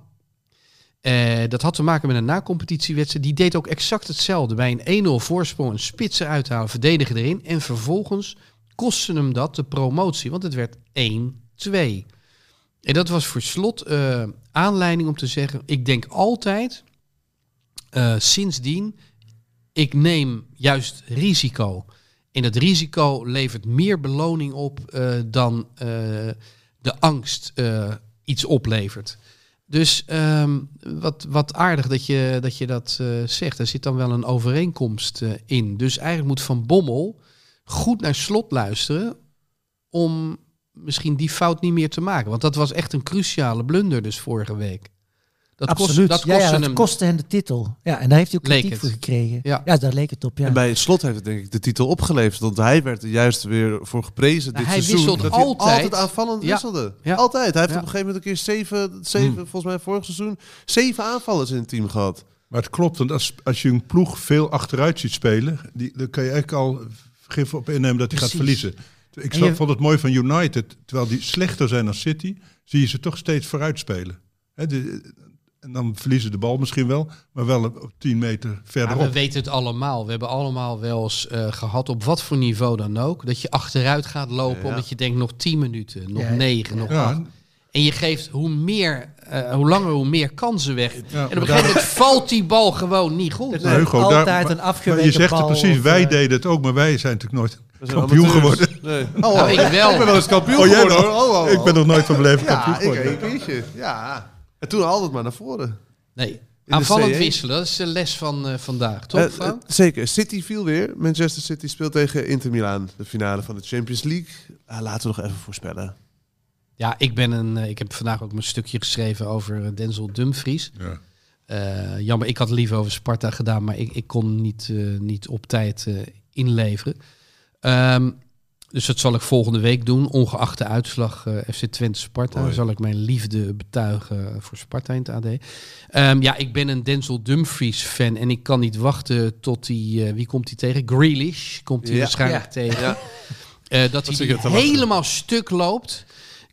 Speaker 3: Eh, dat had te maken met een nacompetitiewedstrijd. Die deed ook exact hetzelfde. Bij een 1-0 voorsprong een spits eruit halen, verdedigen erin. En vervolgens kostte hem dat de promotie, want het werd 1-2. En dat was voor slot eh, aanleiding om te zeggen: ik denk altijd eh, sindsdien, ik neem juist risico. En dat risico levert meer beloning op eh, dan eh, de angst eh, iets oplevert. Dus ehm, wat, wat aardig dat je dat, je dat eh, zegt. Er zit dan wel een overeenkomst eh, in. Dus eigenlijk moet Van Bommel goed naar slot luisteren om misschien die fout niet meer te maken. Want dat was echt een cruciale blunder dus vorige week. Dat kost-
Speaker 6: Absoluut.
Speaker 3: dat
Speaker 6: Ja, ja,
Speaker 3: kostte
Speaker 6: dat
Speaker 3: hem
Speaker 6: kostte hen de titel. Ja, en daar heeft hij ook
Speaker 3: Leek
Speaker 6: kritiek
Speaker 3: het.
Speaker 6: voor gekregen.
Speaker 3: Ja.
Speaker 6: Ja. daar leek het op. Ja.
Speaker 4: En bij Slot heeft het denk ik de titel opgeleverd. Want hij werd er juist weer voor geprezen
Speaker 3: Nou,
Speaker 4: dit
Speaker 3: hij
Speaker 4: seizoen.
Speaker 3: wisselt
Speaker 4: dat
Speaker 3: altijd.
Speaker 4: Hij altijd aanvallend
Speaker 3: Ja.
Speaker 4: wisselde.
Speaker 3: Ja.
Speaker 4: Altijd. Hij heeft
Speaker 3: Ja. Hmm.
Speaker 4: op een gegeven moment een keer zeven, zeven volgens mij vorig seizoen, zeven aanvallers in het team gehad.
Speaker 2: Maar het klopt, want als, als je een ploeg veel achteruit ziet spelen... Die, dan kan je eigenlijk al gif op innemen dat hij gaat
Speaker 6: Precies.
Speaker 2: verliezen. Ik
Speaker 6: En je-
Speaker 2: vond het mooi van United. Terwijl die slechter zijn dan City, zie je ze toch steeds vooruit spelen. Hè, de- en dan verliezen de bal misschien wel, maar wel op 10 meter
Speaker 3: Maar
Speaker 2: verderop.
Speaker 3: we weten het allemaal. We hebben allemaal wel eens eh, gehad, op wat voor niveau dan ook, dat je achteruit gaat lopen
Speaker 4: Ja.
Speaker 3: omdat je denkt nog 10 minuten, nog
Speaker 6: Ja.
Speaker 3: 9, nog
Speaker 2: Ja.
Speaker 3: 8. En je geeft hoe meer, eh, hoe langer, hoe meer kansen weg. en op
Speaker 2: maar
Speaker 3: een gegeven moment valt die bal gewoon niet goed. Nou,
Speaker 6: Nee. altijd een afgeweken
Speaker 2: Je zegt
Speaker 6: bal
Speaker 2: het precies,
Speaker 6: of,
Speaker 2: wij
Speaker 6: eh,
Speaker 2: deden het ook, maar wij zijn natuurlijk nooit
Speaker 4: Dat zijn
Speaker 2: kampioen
Speaker 4: amateurs.
Speaker 2: geworden.
Speaker 4: Nee. Oh,
Speaker 3: Nou, ik wel.
Speaker 4: [laughs] ben wel eens kampioen
Speaker 2: Oh, jij
Speaker 4: geworden
Speaker 2: nog?
Speaker 4: hoor. Oh, oh, oh.
Speaker 2: Ik ben nog nooit van beleefd
Speaker 4: [laughs] ja,
Speaker 2: kampioen
Speaker 4: ik
Speaker 2: geworden.
Speaker 4: een keertje. Ja. En toen altijd maar naar voren.
Speaker 3: Nee,
Speaker 4: de
Speaker 3: aanvallend
Speaker 4: CE.
Speaker 3: wisselen, dat is de les van eh, vandaag, toch?
Speaker 4: Eh,
Speaker 3: Frank?
Speaker 4: eh, zeker. City viel weer. Manchester City speelt tegen Inter Milaan. De finale van de Champions League. Ah, laten we nog even voorspellen.
Speaker 3: Ja, ik ben een. eh, Ik heb vandaag ook mijn stukje geschreven over eh, Denzel Dumfries.
Speaker 2: Ja.
Speaker 3: Eh, jammer, ik had het liever over Sparta gedaan, maar ik, ik kon niet, eh, niet op tijd eh, inleveren. Ehm, dus dat zal ik volgende week doen, ongeacht de uitslag eh, FC Twente Sparta.
Speaker 4: Mooi.
Speaker 3: Zal ik mijn liefde betuigen voor Sparta in het AD. Ehm, ja, ik ben een Denzel Dumfries fan en ik kan niet wachten tot hij... eh, wie komt hij tegen? Grealish komt hij
Speaker 4: Ja.
Speaker 3: waarschijnlijk tegen.
Speaker 4: Ja.
Speaker 3: Eh, dat
Speaker 4: zit
Speaker 3: hij
Speaker 4: je
Speaker 3: die
Speaker 4: te lachen?
Speaker 3: helemaal stuk loopt.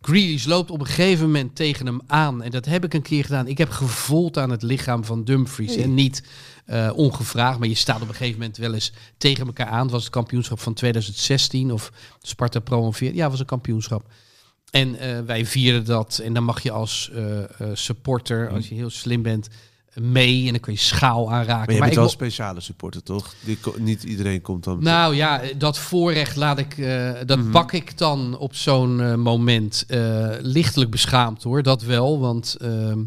Speaker 3: Grealish loopt op een gegeven moment tegen hem aan. En dat heb ik een keer gedaan. Ik heb gevoeld aan het lichaam van Dumfries. En niet eh, ongevraagd. Maar je staat op een gegeven moment wel eens tegen elkaar aan. Het was het kampioenschap van 2016. Of Sparta promoveerde. Ja, het was een kampioenschap. En eh, wij vierden dat. En dan mag je als eh, eh, supporter, als je heel slim bent, mee. En dan kun je schaal aanraken.
Speaker 4: Maar je bent
Speaker 3: ik
Speaker 4: wel
Speaker 3: mo-
Speaker 4: speciale supporter, toch? Die ko- niet iedereen komt dan.
Speaker 3: nou ja, dat voorrecht laat ik, eh, dat pak ik dan op zo'n eh, moment. eh, lichtelijk beschaamd hoor, dat wel. Want ehm,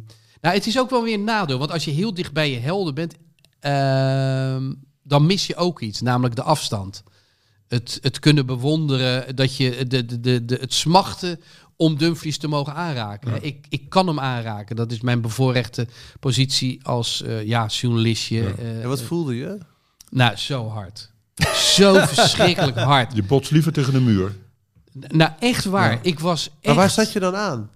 Speaker 3: nou, het is ook wel weer een nadeel. Want als je heel dicht bij je helden bent, ehm, dan mis je ook iets, namelijk de afstand. Het, het kunnen bewonderen, dat je eh, de, de, de, de, het smachten om Dumfries te mogen aanraken. Ik, ik kan hem aanraken. Dat is mijn bevoorrechte positie als eh, ja, journalistje. eh,
Speaker 4: En wat voelde je?
Speaker 3: nou, zo hard.
Speaker 4: [laughs]
Speaker 3: Zo verschrikkelijk hard.
Speaker 2: Je botst liever tegen de muur.
Speaker 3: N- Nou, echt waar. Ik was echt...
Speaker 4: Maar waar zat je dan aan?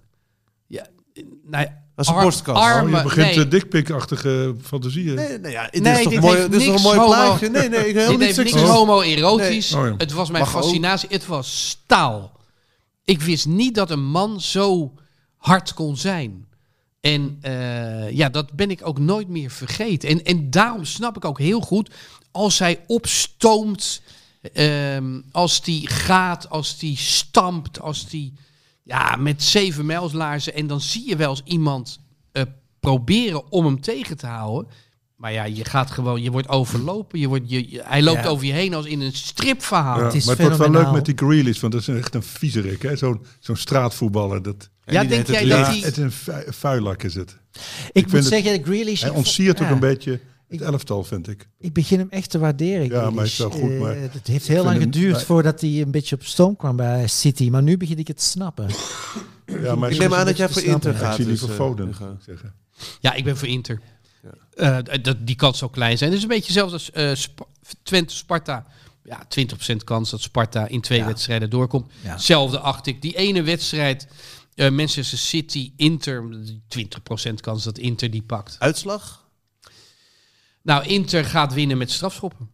Speaker 3: Nou,
Speaker 4: Was een
Speaker 3: ar-
Speaker 4: borstkast.
Speaker 2: Oh,
Speaker 3: Armen,
Speaker 2: je begint
Speaker 3: nee.
Speaker 2: eh, dikpikachtige fantasieën.
Speaker 4: Nee, nee, ja, dit
Speaker 3: Nee,
Speaker 4: is toch,
Speaker 3: dit
Speaker 4: mooi,
Speaker 3: heeft
Speaker 4: dit is toch een
Speaker 3: niks
Speaker 4: mooi
Speaker 3: homo-
Speaker 4: plaatje?
Speaker 3: [laughs]
Speaker 4: Nee, nee, ik heel
Speaker 3: Dit
Speaker 4: niet
Speaker 3: heeft niks
Speaker 4: seksueel.
Speaker 3: homoerotisch.
Speaker 2: Nee. Oh ja.
Speaker 3: Het was mijn
Speaker 4: Mag ook.
Speaker 3: fascinatie. Het was staal. Ik wist niet dat een man zo hard kon zijn. En eh, ja, dat ben ik ook nooit meer vergeten. En, en daarom snap ik ook heel goed als hij opstoomt, ehm, als die gaat, als die stampt, als die ja, met zeven mijlslaarzen. En dan zie je wel eens iemand eh, proberen om hem tegen te houden. Maar ja, je gaat gewoon, je wordt overlopen. Je wordt, je, je- hij loopt
Speaker 4: Ja.
Speaker 3: over je heen als in een stripverhaal.
Speaker 2: Ja,
Speaker 3: Ja,
Speaker 6: het is
Speaker 2: maar het wordt wel
Speaker 6: fenomenaal.
Speaker 2: leuk met die Grealish, want dat is echt een viezerik, hè? Zo'n zo'n straatvoetballer. Dat,
Speaker 4: En die
Speaker 3: denk
Speaker 4: deed
Speaker 3: jij
Speaker 4: het
Speaker 3: dat
Speaker 4: lief.
Speaker 3: hij...
Speaker 2: het is een vu- vuilak is het.
Speaker 6: Ik,
Speaker 2: vind
Speaker 6: moet
Speaker 2: het-
Speaker 6: zeggen, Grealish...
Speaker 2: Hij
Speaker 6: ik vo-
Speaker 2: ontsiert ook
Speaker 6: ja,
Speaker 2: een beetje
Speaker 6: Ik-
Speaker 2: het elftal, vind ik.
Speaker 6: Ik begin hem echt te waarderen,
Speaker 2: Ja, maar hij is wel
Speaker 6: Grealish.
Speaker 2: goed,
Speaker 6: Eh,
Speaker 2: maar
Speaker 6: het heeft heel lang
Speaker 2: hem-
Speaker 6: geduurd
Speaker 2: maar-
Speaker 6: voordat hij een beetje op stoom kwam bij City. Maar nu begin ik het te snappen.
Speaker 2: Ja, maar
Speaker 4: Ik
Speaker 2: zo-
Speaker 4: neem aan dat jij
Speaker 6: te
Speaker 4: voor
Speaker 6: snappen.
Speaker 4: Inter
Speaker 2: ik
Speaker 4: gaat.
Speaker 2: zie liever
Speaker 4: dus, eh,
Speaker 2: Foden.
Speaker 4: Hugo.
Speaker 2: zeggen.
Speaker 3: ja, ik ben voor Inter. Eh, d- dat, die kans zou klein zijn. Het is een beetje zelfs als eh, Sp- Twente Sparta. Ja, 20% kans dat Sparta in twee wedstrijden doorkomt.
Speaker 6: Ja.
Speaker 3: Hetzelfde acht ik. Die ene wedstrijd, eh, Manchester City, Inter. 20% kans dat Inter die pakt.
Speaker 4: Uitslag?
Speaker 3: Nou, Inter gaat winnen met strafschoppen.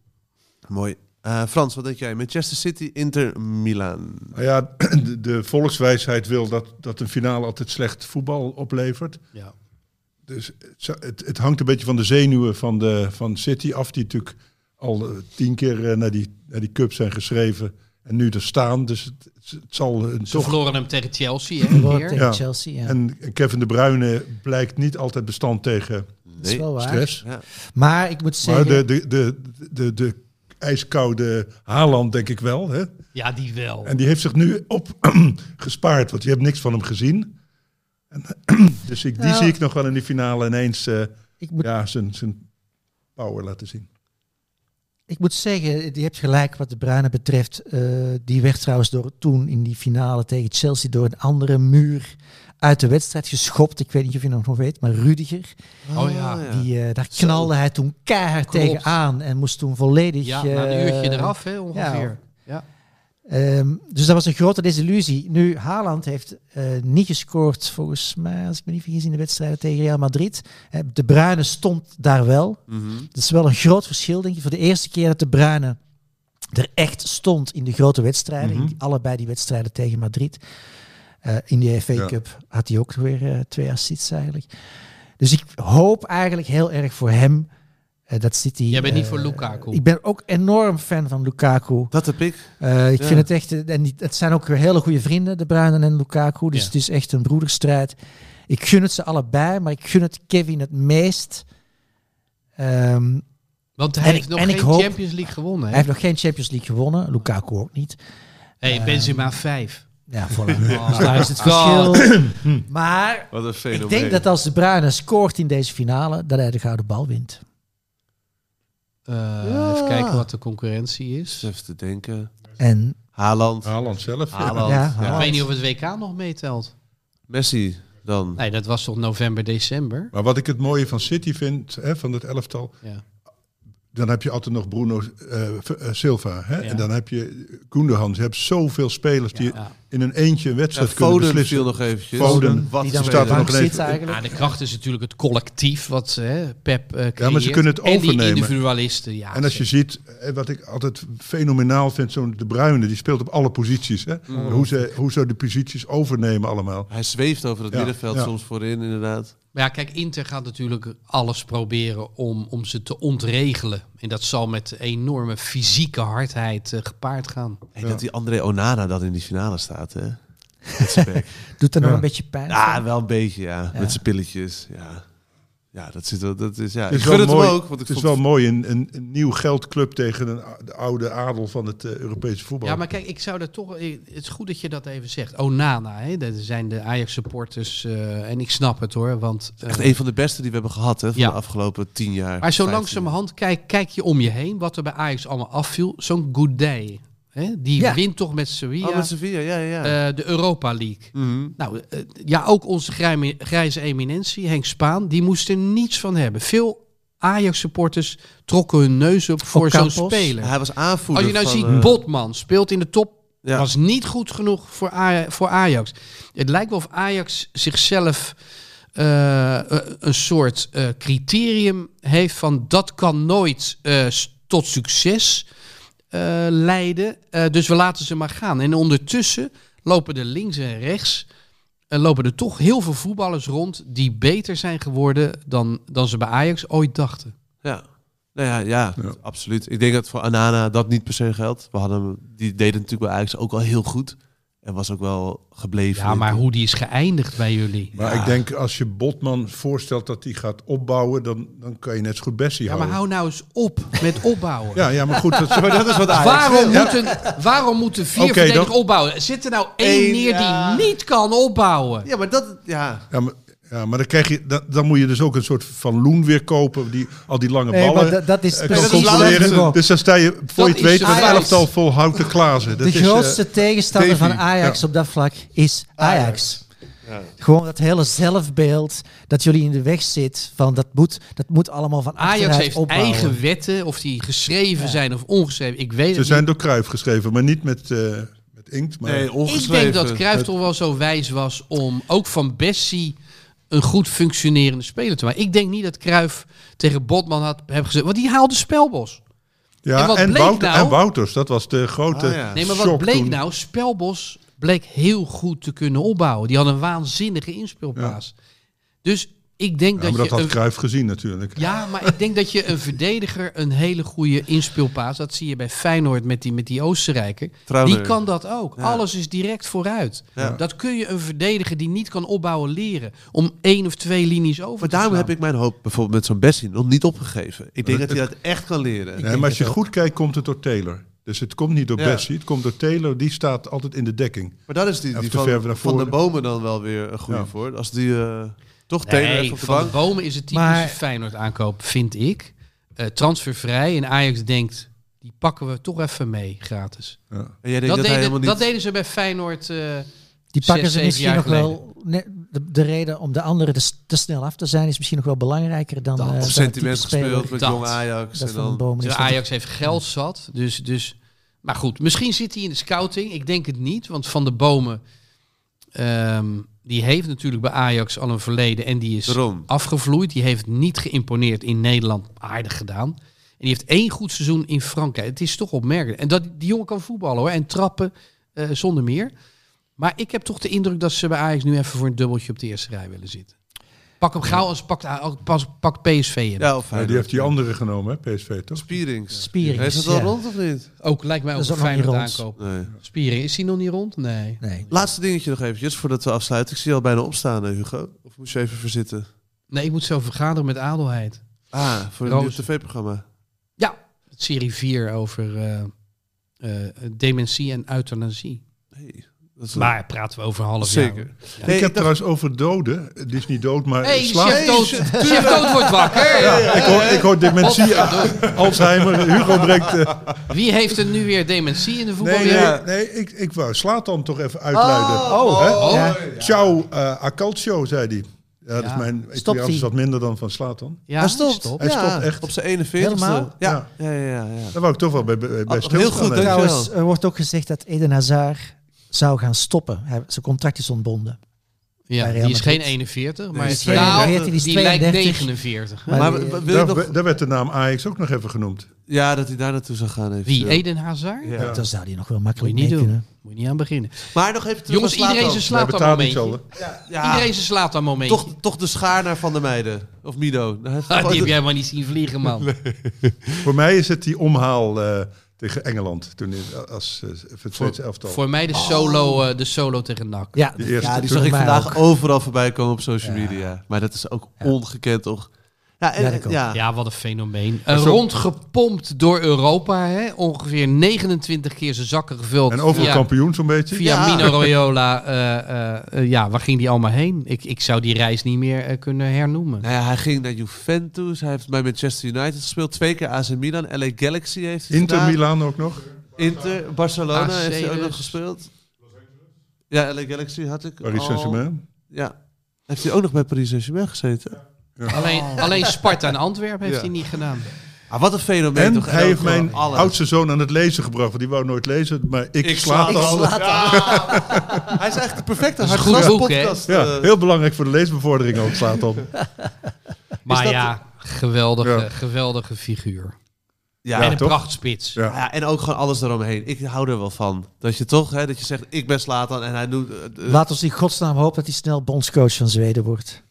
Speaker 4: Mooi. Eh, Frans, wat denk jij? Manchester City, Inter, Milaan.
Speaker 2: Nou ja, [clears throat] de, de volkswijsheid wil dat, dat een finale altijd slecht voetbal oplevert.
Speaker 3: Ja.
Speaker 2: Dus het, zou- het, het hangt een beetje van de zenuwen van, de, van City af, die natuurlijk al eh, tien keer eh, naar die, naar die cup zijn geschreven en nu er staan. Dus het, het zal hun
Speaker 3: Ze
Speaker 2: toch
Speaker 3: verloren hem tegen Chelsea. Hè,
Speaker 6: Verloren
Speaker 3: weer.
Speaker 6: tegen
Speaker 2: Ja.
Speaker 6: Chelsea, ja.
Speaker 2: En Kevin De Bruyne blijkt niet altijd bestand tegen
Speaker 6: dat is wel waar.
Speaker 2: stress.
Speaker 4: Ja.
Speaker 6: Maar ik moet zeggen...
Speaker 2: Maar de, de, de, de, de ijskoude Haaland denk ik wel. Hè?
Speaker 3: Ja, die wel.
Speaker 2: En die heeft zich nu op [clears throat] gespaard, want je hebt niks van hem gezien. En, [clears throat] dus ik, die
Speaker 6: Nou.
Speaker 2: zie ik nog wel in die finale ineens eh,
Speaker 6: ik moet
Speaker 2: ja, zijn, zijn power laten zien.
Speaker 6: Ik moet zeggen, je hebt gelijk wat de Bruyne betreft. Eh, die werd trouwens door, toen in die finale tegen Chelsea door een andere muur uit de wedstrijd geschopt. Ik weet niet of je dat nog weet, maar Rudiger.
Speaker 3: Oh ja.
Speaker 6: Die, eh, daar knalde hij toen keihard
Speaker 3: Klopt.
Speaker 6: tegenaan en moest toen volledig...
Speaker 3: Ja, na een
Speaker 6: eh,
Speaker 3: uurtje eraf hè, ongeveer. Ja.
Speaker 6: Ehm, dus dat was een grote desillusie. Nu, Haaland heeft eh, niet gescoord, volgens mij, als ik me niet vergis, in de wedstrijden tegen Real Madrid. Eh, de Bruyne stond daar wel.
Speaker 4: Mhm.
Speaker 6: Dat is wel een groot verschil, denk ik. Voor de eerste keer dat de Bruyne er echt stond in de grote wedstrijden. in
Speaker 2: Mhm.
Speaker 6: die- allebei die wedstrijden tegen Madrid. Eh, in de FA
Speaker 2: Ja.
Speaker 6: Cup had hij ook weer eh, twee assists eigenlijk. Dus ik hoop eigenlijk heel erg voor hem eh, dat City...
Speaker 3: Jij bent niet
Speaker 6: eh,
Speaker 3: voor Lukaku.
Speaker 6: Ik ben ook enorm fan van Lukaku.
Speaker 4: Dat heb ik.
Speaker 6: Eh, ik
Speaker 4: Ja.
Speaker 6: vind het echt, eh, en die, het zijn ook weer hele goede vrienden, de Bruinen en Lukaku. Dus
Speaker 3: Ja.
Speaker 6: het is echt een broederstrijd. Ik gun het ze allebei, maar ik gun het Kevin het meest. Ehm,
Speaker 3: Want hij
Speaker 6: En
Speaker 3: heeft
Speaker 6: ik-
Speaker 3: nog
Speaker 6: en
Speaker 3: geen
Speaker 6: ik hoop-
Speaker 3: Champions League gewonnen.
Speaker 6: hij
Speaker 3: Hè?
Speaker 6: heeft nog geen Champions League gewonnen, Lukaku ook niet.
Speaker 3: Hey, Benzema 5.
Speaker 6: Ja, voilà. Dus daar is het verschil. maar
Speaker 4: Wat een fenomeen.
Speaker 6: ik denk dat als de Bruyne scoort in deze finale, dat hij de gouden bal wint.
Speaker 3: Eh, Even kijken wat de concurrentie is.
Speaker 4: Eens Even te denken.
Speaker 6: En
Speaker 4: Haaland.
Speaker 2: Haaland zelf.
Speaker 4: Haaland.
Speaker 6: Ja,
Speaker 4: Ja,
Speaker 3: Ik
Speaker 6: Haaland.
Speaker 3: weet niet of het WK nog meetelt.
Speaker 4: Messi dan.
Speaker 3: Nee, dat was toch november, december?
Speaker 2: Maar wat ik het mooie van City vind, hè, van het elftal,
Speaker 3: Ja.
Speaker 2: dan heb je altijd nog Bruno eh, v- eh, Silva. Hè?
Speaker 3: Ja.
Speaker 2: En dan heb je Koendehans. Je hebt zoveel spelers die
Speaker 3: Ja.
Speaker 2: in een eentje een
Speaker 4: Ja,
Speaker 2: wedstrijd kunnen
Speaker 4: Foden
Speaker 2: beslissen.
Speaker 4: viel nog eventjes.
Speaker 2: Foden.
Speaker 4: Wat
Speaker 6: die
Speaker 4: een
Speaker 6: dan op de
Speaker 2: staat er
Speaker 4: speler.
Speaker 6: bank
Speaker 2: nog ineens-
Speaker 6: zit eigenlijk.
Speaker 3: Ah, de kracht is natuurlijk het collectief wat hè, Pep eh creëert.
Speaker 2: Ja, maar ze kunnen het
Speaker 3: En die
Speaker 2: overnemen.
Speaker 3: individualisten, ja.
Speaker 2: En als je ziet, eh, wat ik altijd fenomenaal vind, zo'n De Bruyne, die speelt op alle posities. Hè?
Speaker 4: Mm.
Speaker 2: Hoe, ze, hoe ze de posities overnemen allemaal.
Speaker 4: Hij zweeft over het
Speaker 2: Ja,
Speaker 4: middenveld
Speaker 2: ja.
Speaker 4: soms voorin, inderdaad.
Speaker 3: Maar ja, kijk, Inter gaat natuurlijk alles proberen om, om ze te ontregelen. En dat zal met enorme fysieke hardheid eh, gepaard gaan.
Speaker 4: En dat die André Onana dan in die finale staat, [laughs] hè? Met zijn bek.
Speaker 6: Doet dat nog
Speaker 2: Ja.
Speaker 6: een beetje pijn?
Speaker 4: Ja, wel een beetje, ja.
Speaker 6: Ja.
Speaker 4: Met zijn pilletjes, ja. Ja, dat, zit wel, dat is, ja.
Speaker 2: Het is,
Speaker 4: ik gun
Speaker 2: wel
Speaker 4: het hem
Speaker 2: mooi,
Speaker 4: ook, want ik
Speaker 2: het is
Speaker 4: vond
Speaker 2: wel mooi, een, een, een nieuw geldclub tegen een, a- de oude adel van het eh, Europese voetbal.
Speaker 3: Ja, maar kijk, ik zou daar toch. ik- Het is goed dat je dat even zegt. Onana, hè, dat zijn de Ajax-supporters. eh, en ik snap het hoor. Want, eh,
Speaker 4: echt een van de beste die we hebben gehad, hè? Van
Speaker 3: Ja.
Speaker 4: de afgelopen tien
Speaker 3: maar
Speaker 4: jaar.
Speaker 3: zo
Speaker 4: 15 jaar.
Speaker 3: langzamerhand kijk, kijk je om je heen. Wat er bij Ajax allemaal afviel. Zo'n Goudet, hè, die
Speaker 6: Ja.
Speaker 3: wint toch met Sevilla
Speaker 4: Oh, met Sevilla, ja, ja, ja.
Speaker 3: eh, de Europa League.
Speaker 4: Mhm.
Speaker 3: Nou, eh, ja, ook onze grijme- grijze eminentie, Henk Spaan, die moest er niets van hebben. Veel Ajax-supporters trokken hun neus op voor zo'n
Speaker 6: Ocampos.
Speaker 3: speler.
Speaker 4: Hij was aanvoerder
Speaker 3: Als je nou
Speaker 4: van,
Speaker 3: ziet,
Speaker 4: eh,
Speaker 3: Botman speelt in de top,
Speaker 4: Ja.
Speaker 3: was niet goed genoeg voor, Aj- voor Ajax. Het lijkt wel of Ajax zichzelf eh, eh, een soort eh, criterium heeft van dat kan nooit eh, s- tot succes eh, leiden. Eh, dus we laten ze maar gaan. En ondertussen lopen er links en rechts. eh, lopen er toch heel veel voetballers rond die beter zijn geworden dan, dan ze bij Ajax ooit dachten.
Speaker 4: Ja. Nou ja, ja, absoluut. Ik denk dat voor Anana dat niet per se geldt. We hadden, hem- die deden natuurlijk bij Ajax ook al heel goed. En was ook wel gebleven.
Speaker 3: Ja, maar hoe die is geëindigd bij jullie.
Speaker 2: Maar ik denk, als je Botman voorstelt dat hij gaat opbouwen, dan, dan kan je net zo goed Bessie
Speaker 3: Ja, maar
Speaker 2: houden.
Speaker 3: hou nou eens op met opbouwen.
Speaker 2: Ja, ja, maar goed,
Speaker 4: [laughs]
Speaker 2: dat, maar dat is wat
Speaker 3: Waarom, moeten, waarom moeten vier
Speaker 2: Oké,
Speaker 3: verdedigers
Speaker 2: dan-
Speaker 3: opbouwen? Zit er nou één
Speaker 4: Eén,
Speaker 3: neer
Speaker 4: ja.
Speaker 3: die niet kan opbouwen?
Speaker 4: Ja, maar dat... Ja.
Speaker 2: Ja, maar, ja, maar dan, krijg je, dan, dan moet je dus ook een soort van loen weer kopen, die al die lange
Speaker 6: Nee, maar
Speaker 2: ballen
Speaker 6: dat- dat is
Speaker 2: eh, kan
Speaker 6: precies
Speaker 4: wat ik
Speaker 2: controleren.
Speaker 6: bedoel.
Speaker 2: Dus dan sta je, voor je het
Speaker 3: Dat
Speaker 2: weet,
Speaker 3: is
Speaker 2: met een
Speaker 3: Ajax.
Speaker 2: elftal vol houten glazen. Dat
Speaker 6: de
Speaker 2: is, eh,
Speaker 6: grootste tegenstander van
Speaker 2: Davy,
Speaker 6: Ajax
Speaker 2: ja.
Speaker 6: op dat vlak is Ajax. Gewoon dat hele zelfbeeld dat jullie in de weg zit van dat moet, dat moet allemaal van
Speaker 3: Ajax
Speaker 6: achteruit
Speaker 3: heeft
Speaker 6: opbouwen.
Speaker 3: eigen wetten, of die geschreven zijn of ongeschreven. Ik weet
Speaker 2: ze
Speaker 3: het
Speaker 2: zijn
Speaker 3: niet.
Speaker 2: door Kruif geschreven, maar niet met, eh, met inkt. Maar,
Speaker 4: Nee,
Speaker 3: Ik
Speaker 4: ongeschreven.
Speaker 3: denk dat Cruijff toch wel zo wijs was om ook van Bessie een goed functionerende speler te maken. Ik denk niet dat Cruijff tegen Botman had hebben gezegd, want die haalde Spelbos.
Speaker 2: ja,
Speaker 3: en wat bleek
Speaker 2: Wouter-
Speaker 3: nou?
Speaker 2: en Wouters, dat was de grote
Speaker 4: Ah, ja.
Speaker 3: Nee, maar wat
Speaker 2: shock
Speaker 3: bleek
Speaker 2: toen.
Speaker 3: nou? Spelbos bleek heel goed te kunnen opbouwen. Die had een waanzinnige inspeelplaats. Dus ik denk
Speaker 2: Ja, maar
Speaker 3: dat
Speaker 2: dat
Speaker 3: je
Speaker 2: had
Speaker 3: een
Speaker 2: Kruif gezien natuurlijk.
Speaker 3: Ja, maar ik denk dat je een verdediger een hele goede inspeelpaas. Dat zie je bij Feyenoord met die, met die Oostenrijker.
Speaker 4: Trouwner.
Speaker 3: Die kan dat ook.
Speaker 4: Ja.
Speaker 3: Alles is direct vooruit.
Speaker 4: Ja.
Speaker 3: Dat kun je een verdediger die niet kan opbouwen leren. Om één of twee linies over
Speaker 4: Maar
Speaker 3: te
Speaker 4: daarom
Speaker 3: slaan.
Speaker 4: heb ik mijn hoop bijvoorbeeld met zo'n Bessie nog niet opgegeven. Ik denk dat hij dat echt kan leren.
Speaker 2: Nee, maar als je goed kijkt, komt het door Taylor. Dus het komt niet door
Speaker 4: Ja.
Speaker 2: Bessie, het komt door Taylor. Die staat altijd in de dekking.
Speaker 4: Maar dat is die,
Speaker 2: Even
Speaker 4: die
Speaker 2: te
Speaker 4: van,
Speaker 2: ver naar
Speaker 4: van de
Speaker 2: voren.
Speaker 4: bomen dan wel weer een goede
Speaker 2: Ja.
Speaker 4: voor. Als die eh, toch
Speaker 3: Nee,
Speaker 4: tegen op de
Speaker 3: Van
Speaker 4: bank.
Speaker 3: de Bomen is het typische
Speaker 6: Maar-
Speaker 3: Feyenoord aankoop, vind ik. Eh, transfervrij. En Ajax denkt, die pakken we toch even mee, gratis.
Speaker 4: En jij denkt
Speaker 3: Dat,
Speaker 4: dat, hij
Speaker 3: deden,
Speaker 4: helemaal niet...
Speaker 3: dat deden ze bij Feyenoord. eh,
Speaker 6: Die pakken
Speaker 3: Zes,
Speaker 6: ze
Speaker 3: zeven
Speaker 6: misschien
Speaker 3: jaar
Speaker 6: nog wel. nee, de, de reden om de anderen te, s- te snel af te zijn is misschien nog wel belangrijker dan.
Speaker 3: Dat op
Speaker 6: eh, dan
Speaker 4: op
Speaker 6: het
Speaker 4: sentiment
Speaker 6: type speler
Speaker 4: gespeeld met
Speaker 3: Dat.
Speaker 4: jong Ajax.
Speaker 6: Dat
Speaker 4: en
Speaker 6: van een
Speaker 4: dan,
Speaker 6: boom
Speaker 3: Dus
Speaker 6: is.
Speaker 3: Ajax heeft geld zat. Dus, dus, maar goed, misschien zit hij in de scouting. Ik denk het niet, want Van de Bomen... ehm, die heeft natuurlijk bij Ajax al een verleden en die is
Speaker 4: Daarom.
Speaker 3: afgevloeid. Die heeft niet geïmponeerd in Nederland, aardig gedaan. En die heeft één goed seizoen in Frankrijk. Het is toch opmerkelijk. En dat, die jongen kan voetballen hoor, en trappen eh, zonder meer. Maar ik heb toch de indruk dat ze bij Ajax nu even voor een dubbeltje op de eerste rij willen zitten. Pak hem gauw als pakt, pas- pakt PSV in.
Speaker 4: ja, of
Speaker 2: Ja, die heeft die andere genomen, hè, PSV, toch?
Speaker 4: Spierings.
Speaker 6: Spierings,
Speaker 4: Is het al
Speaker 6: ja.
Speaker 4: rond of niet?
Speaker 3: Ook lijkt mij
Speaker 6: Dat
Speaker 3: ook
Speaker 6: is
Speaker 3: een
Speaker 6: ook nog niet
Speaker 3: Feyenoord
Speaker 6: rond.
Speaker 3: aankoop.
Speaker 4: Nee.
Speaker 3: Spiering, is hij nog niet rond? Nee.
Speaker 6: Nee.
Speaker 4: Laatste dingetje nog eventjes voordat we afsluiten. Ik zie je al bijna opstaan, hè, Hugo. Of moest je even verzitten?
Speaker 3: Nee, ik moet zo vergaderen met Adelheid.
Speaker 4: Ah, voor een
Speaker 3: Roos.
Speaker 4: nieuw tv-programma.
Speaker 3: Ja, serie 4 over eh, eh, dementie en euthanasie.
Speaker 4: Hey, Dat is
Speaker 3: Maar praten we over een half
Speaker 4: zeker.
Speaker 3: jaar.
Speaker 4: Nee,
Speaker 2: ik
Speaker 4: ik
Speaker 2: heb
Speaker 4: dacht-
Speaker 2: trouwens over doden. Het is niet dood, maar
Speaker 3: Hey,
Speaker 2: slaap.
Speaker 3: chef dood, chef dood wordt wakker.
Speaker 2: Ja, ik hoor, ik hoor dementie, Alzheimer, Hugo breekt... eh,
Speaker 3: Wie heeft er nu weer dementie in de voetbal?
Speaker 2: nee, nee,
Speaker 4: Ja.
Speaker 2: nee, ik, ik wou Slatan toch even uitluiden.
Speaker 4: Oh,
Speaker 2: Hè?
Speaker 3: Oh, ja.
Speaker 2: Ciao eh, a calcio, zei hij. Ja, dat is
Speaker 3: Ja.
Speaker 2: mijn
Speaker 6: Stopt
Speaker 2: Italiaans is
Speaker 6: hij?
Speaker 2: wat minder dan van Slatan.
Speaker 6: Hij stopt.
Speaker 2: Hij stopt echt.
Speaker 4: Op zijn 41
Speaker 6: Helemaal?
Speaker 4: ste
Speaker 2: Ja.
Speaker 4: Ja. Ja, ja, ja, ja.
Speaker 2: Daar wou ik toch wel bij, bij bij
Speaker 4: Oh, heel
Speaker 2: stilstaan.
Speaker 4: goed,
Speaker 2: hè.
Speaker 4: hè?
Speaker 6: Trouwens,
Speaker 4: wel.
Speaker 6: er wordt ook gezegd dat Eden Hazard zou gaan stoppen. Hij, zijn contract is ontbonden.
Speaker 3: Ja,
Speaker 6: Bij Real
Speaker 3: die is geen
Speaker 6: Madrid.
Speaker 3: 41, maar
Speaker 2: die
Speaker 3: is
Speaker 2: is
Speaker 3: nou,
Speaker 6: 42, die is
Speaker 3: die lijkt
Speaker 6: 32.
Speaker 3: 49. hè?
Speaker 6: Maar
Speaker 4: Maar
Speaker 6: die,
Speaker 4: w-
Speaker 6: eh,
Speaker 4: w- wil je
Speaker 2: Daar,
Speaker 4: nog...
Speaker 2: daar werd de naam Ajax ook nog even genoemd.
Speaker 4: Ja, dat hij daar naartoe zou gaan even.
Speaker 3: Wie? Eden Hazard?
Speaker 4: Ja.
Speaker 2: Ja.
Speaker 6: Dan zou hij nog
Speaker 3: Moet
Speaker 6: wel
Speaker 3: je
Speaker 6: makkelijk
Speaker 3: niet
Speaker 6: mee
Speaker 3: doen.
Speaker 6: kunnen.
Speaker 3: Moet je niet aan beginnen.
Speaker 4: Maar nog even terug
Speaker 3: Jongens,
Speaker 4: naar Zlatan.
Speaker 3: iedereen zijn
Speaker 2: Hij
Speaker 3: slaat een
Speaker 2: betaalt niet
Speaker 3: momentje.
Speaker 2: zo. hè?
Speaker 4: Ja,
Speaker 3: Iedereen zijn slaat een momentje.
Speaker 4: toch, toch de schaar naar Van der Meijden. Of Mido. Die
Speaker 3: Ah, die heb jij maar niet zien vliegen, man.
Speaker 2: Voor mij is het die omhaal eh, tegen Engeland. Toen in, als eh, voor het Zweedse elftal.
Speaker 3: Voor mij de solo, eh, de solo tegen NAC.
Speaker 6: Ja,
Speaker 2: Die eerste
Speaker 6: ja,
Speaker 2: natuurlijk.
Speaker 4: die zag
Speaker 6: voor
Speaker 4: ik
Speaker 6: mij
Speaker 4: vandaag
Speaker 6: ook.
Speaker 4: overal voorbij komen op social media. Maar dat is ook
Speaker 6: Ja.
Speaker 4: ongekend, toch? Ja, en,
Speaker 6: Ja,
Speaker 4: ja,
Speaker 6: dat kan.
Speaker 3: Ja, wat een fenomeen. Eh,
Speaker 2: zo-
Speaker 3: rondgepompt door Europa. Hè? Ongeveer 29 keer zijn zakken gevuld.
Speaker 2: En overal
Speaker 3: via,
Speaker 2: kampioen zo'n beetje.
Speaker 3: Via
Speaker 4: Ja.
Speaker 3: Mino Royola. eh, eh, eh, ja, waar ging die allemaal heen? Ik, ik zou die reis niet meer eh, kunnen hernoemen.
Speaker 4: Nou ja, hij ging naar Juventus. Hij heeft bij Manchester United gespeeld. Twee keer AC Milan. LA Galaxy heeft hij
Speaker 2: Inter
Speaker 4: gedaan.
Speaker 2: Milan ook nog.
Speaker 4: Inter, Barcelona
Speaker 3: AC
Speaker 4: heeft hij ook
Speaker 3: dus.
Speaker 4: nog gespeeld. Ja, LA Galaxy had ik
Speaker 2: Paris
Speaker 4: al.
Speaker 2: Saint-Germain.
Speaker 4: Ja. Heeft hij ook nog bij Paris Saint-Germain gezeten?
Speaker 3: Alleen, alleen Sparta en Antwerpen heeft
Speaker 2: Ja.
Speaker 3: hij niet gedaan.
Speaker 4: Ah, wat een fenomeen
Speaker 2: En
Speaker 4: toch?
Speaker 2: hij heeft mijn
Speaker 4: alles.
Speaker 2: oudste zoon aan het lezen gebracht. Want die wou nooit lezen, maar ik,
Speaker 4: Ik
Speaker 2: slaat
Speaker 4: slaat
Speaker 2: al.
Speaker 4: al.
Speaker 6: Laat hem.
Speaker 4: Hij is eigenlijk de perfecte
Speaker 3: Dat is een
Speaker 4: hardgas
Speaker 3: goed boek, hè?
Speaker 4: podcast.
Speaker 2: Ja,
Speaker 4: eh,
Speaker 2: heel belangrijk voor de leesbevordering ook slaat op.
Speaker 3: Maar
Speaker 4: dat-
Speaker 3: ja, geweldige,
Speaker 2: Ja.
Speaker 3: geweldige figuur.
Speaker 4: ja,
Speaker 3: en een
Speaker 2: toch?
Speaker 3: prachtspits.
Speaker 2: Ja.
Speaker 4: Ja, en ook gewoon alles daaromheen. Ik hou er wel van. Dat je toch, hè, dat je zegt, ik ben Slatan en hij doet... eh, eh,
Speaker 6: Laat ons in godsnaam hopen dat hij snel bondscoach van Zweden wordt.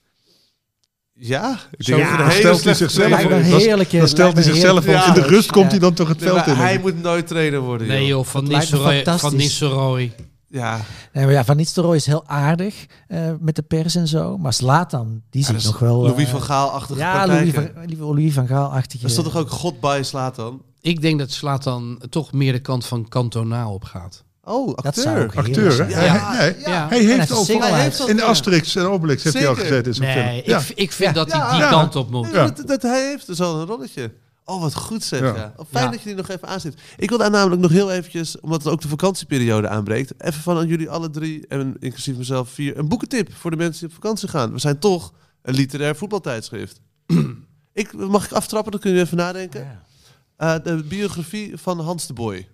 Speaker 4: Ja, ik
Speaker 2: Zo
Speaker 4: denk dat het een hele
Speaker 2: stelt hij
Speaker 4: slechte
Speaker 2: zichzelf
Speaker 4: trainer
Speaker 6: Lijkt me
Speaker 2: voor.
Speaker 4: is.
Speaker 6: een
Speaker 2: dat-
Speaker 6: heerlijke...
Speaker 2: Dan stelt hij
Speaker 6: lijkt me een
Speaker 2: zichzelf op. In
Speaker 6: heerlijke
Speaker 2: de rust komt hij
Speaker 6: Ja.
Speaker 2: dan toch het
Speaker 4: Nee,
Speaker 2: veld
Speaker 4: maar
Speaker 2: in.
Speaker 4: hij moet nooit trainer worden,
Speaker 3: Nee
Speaker 4: joh.
Speaker 3: joh, van
Speaker 6: Dat lijkt me
Speaker 3: Nistelrooy. Van
Speaker 6: fantastisch.
Speaker 3: Nistelrooy.
Speaker 4: Ja,
Speaker 6: Nee, maar ja, Van Nistelrooy is heel aardig eh, met de pers en zo. Maar Slatan, die
Speaker 4: dat
Speaker 6: zit
Speaker 4: is
Speaker 6: nog wel... eh,
Speaker 4: Louis van Gaal-achtige
Speaker 6: Ja, Louis
Speaker 4: praktijken.
Speaker 6: van, Louis van Gaal-achtige...
Speaker 4: Er stond toch ook God bij Slatan?
Speaker 3: Ik denk dat Slatan toch meer de kant van kantonaal op gaat.
Speaker 4: Oh, acteur.
Speaker 6: Dat zou ook heerlijk
Speaker 2: Acteur, hè?
Speaker 6: zijn.
Speaker 4: Ja.
Speaker 2: Hij, nee,
Speaker 3: Ja.
Speaker 2: hij
Speaker 6: En hij
Speaker 2: heeft
Speaker 6: is
Speaker 2: ook
Speaker 6: single
Speaker 4: Hij
Speaker 6: uit.
Speaker 4: heeft al-
Speaker 2: In Asterix en Obelix heeft hij al
Speaker 4: Zeker.
Speaker 2: gezeten in zo'n
Speaker 3: Nee,
Speaker 2: film. Ja.
Speaker 3: ik, ik vind dat hij die
Speaker 2: Ja.
Speaker 3: kant op moet.
Speaker 4: Nee,
Speaker 2: Ja.
Speaker 4: maar dat, dat hij heeft dus al een rolletje. Oh, wat goed zeg.
Speaker 2: Ja.
Speaker 4: Ja. Fijn
Speaker 3: Ja.
Speaker 4: dat je die nog even aanzet. Ik wil daar namelijk nog heel eventjes, omdat het ook de vakantieperiode aanbreekt, even van aan jullie alle drie, en inclusief mezelf vier, een boekentip voor de mensen die op vakantie gaan. We zijn toch een literair
Speaker 6: [clears throat]
Speaker 4: voetbaltijdschrift. ik, mag ik aftrappen? Dan kun je even nadenken. Eh, de biografie van Hans de Boy.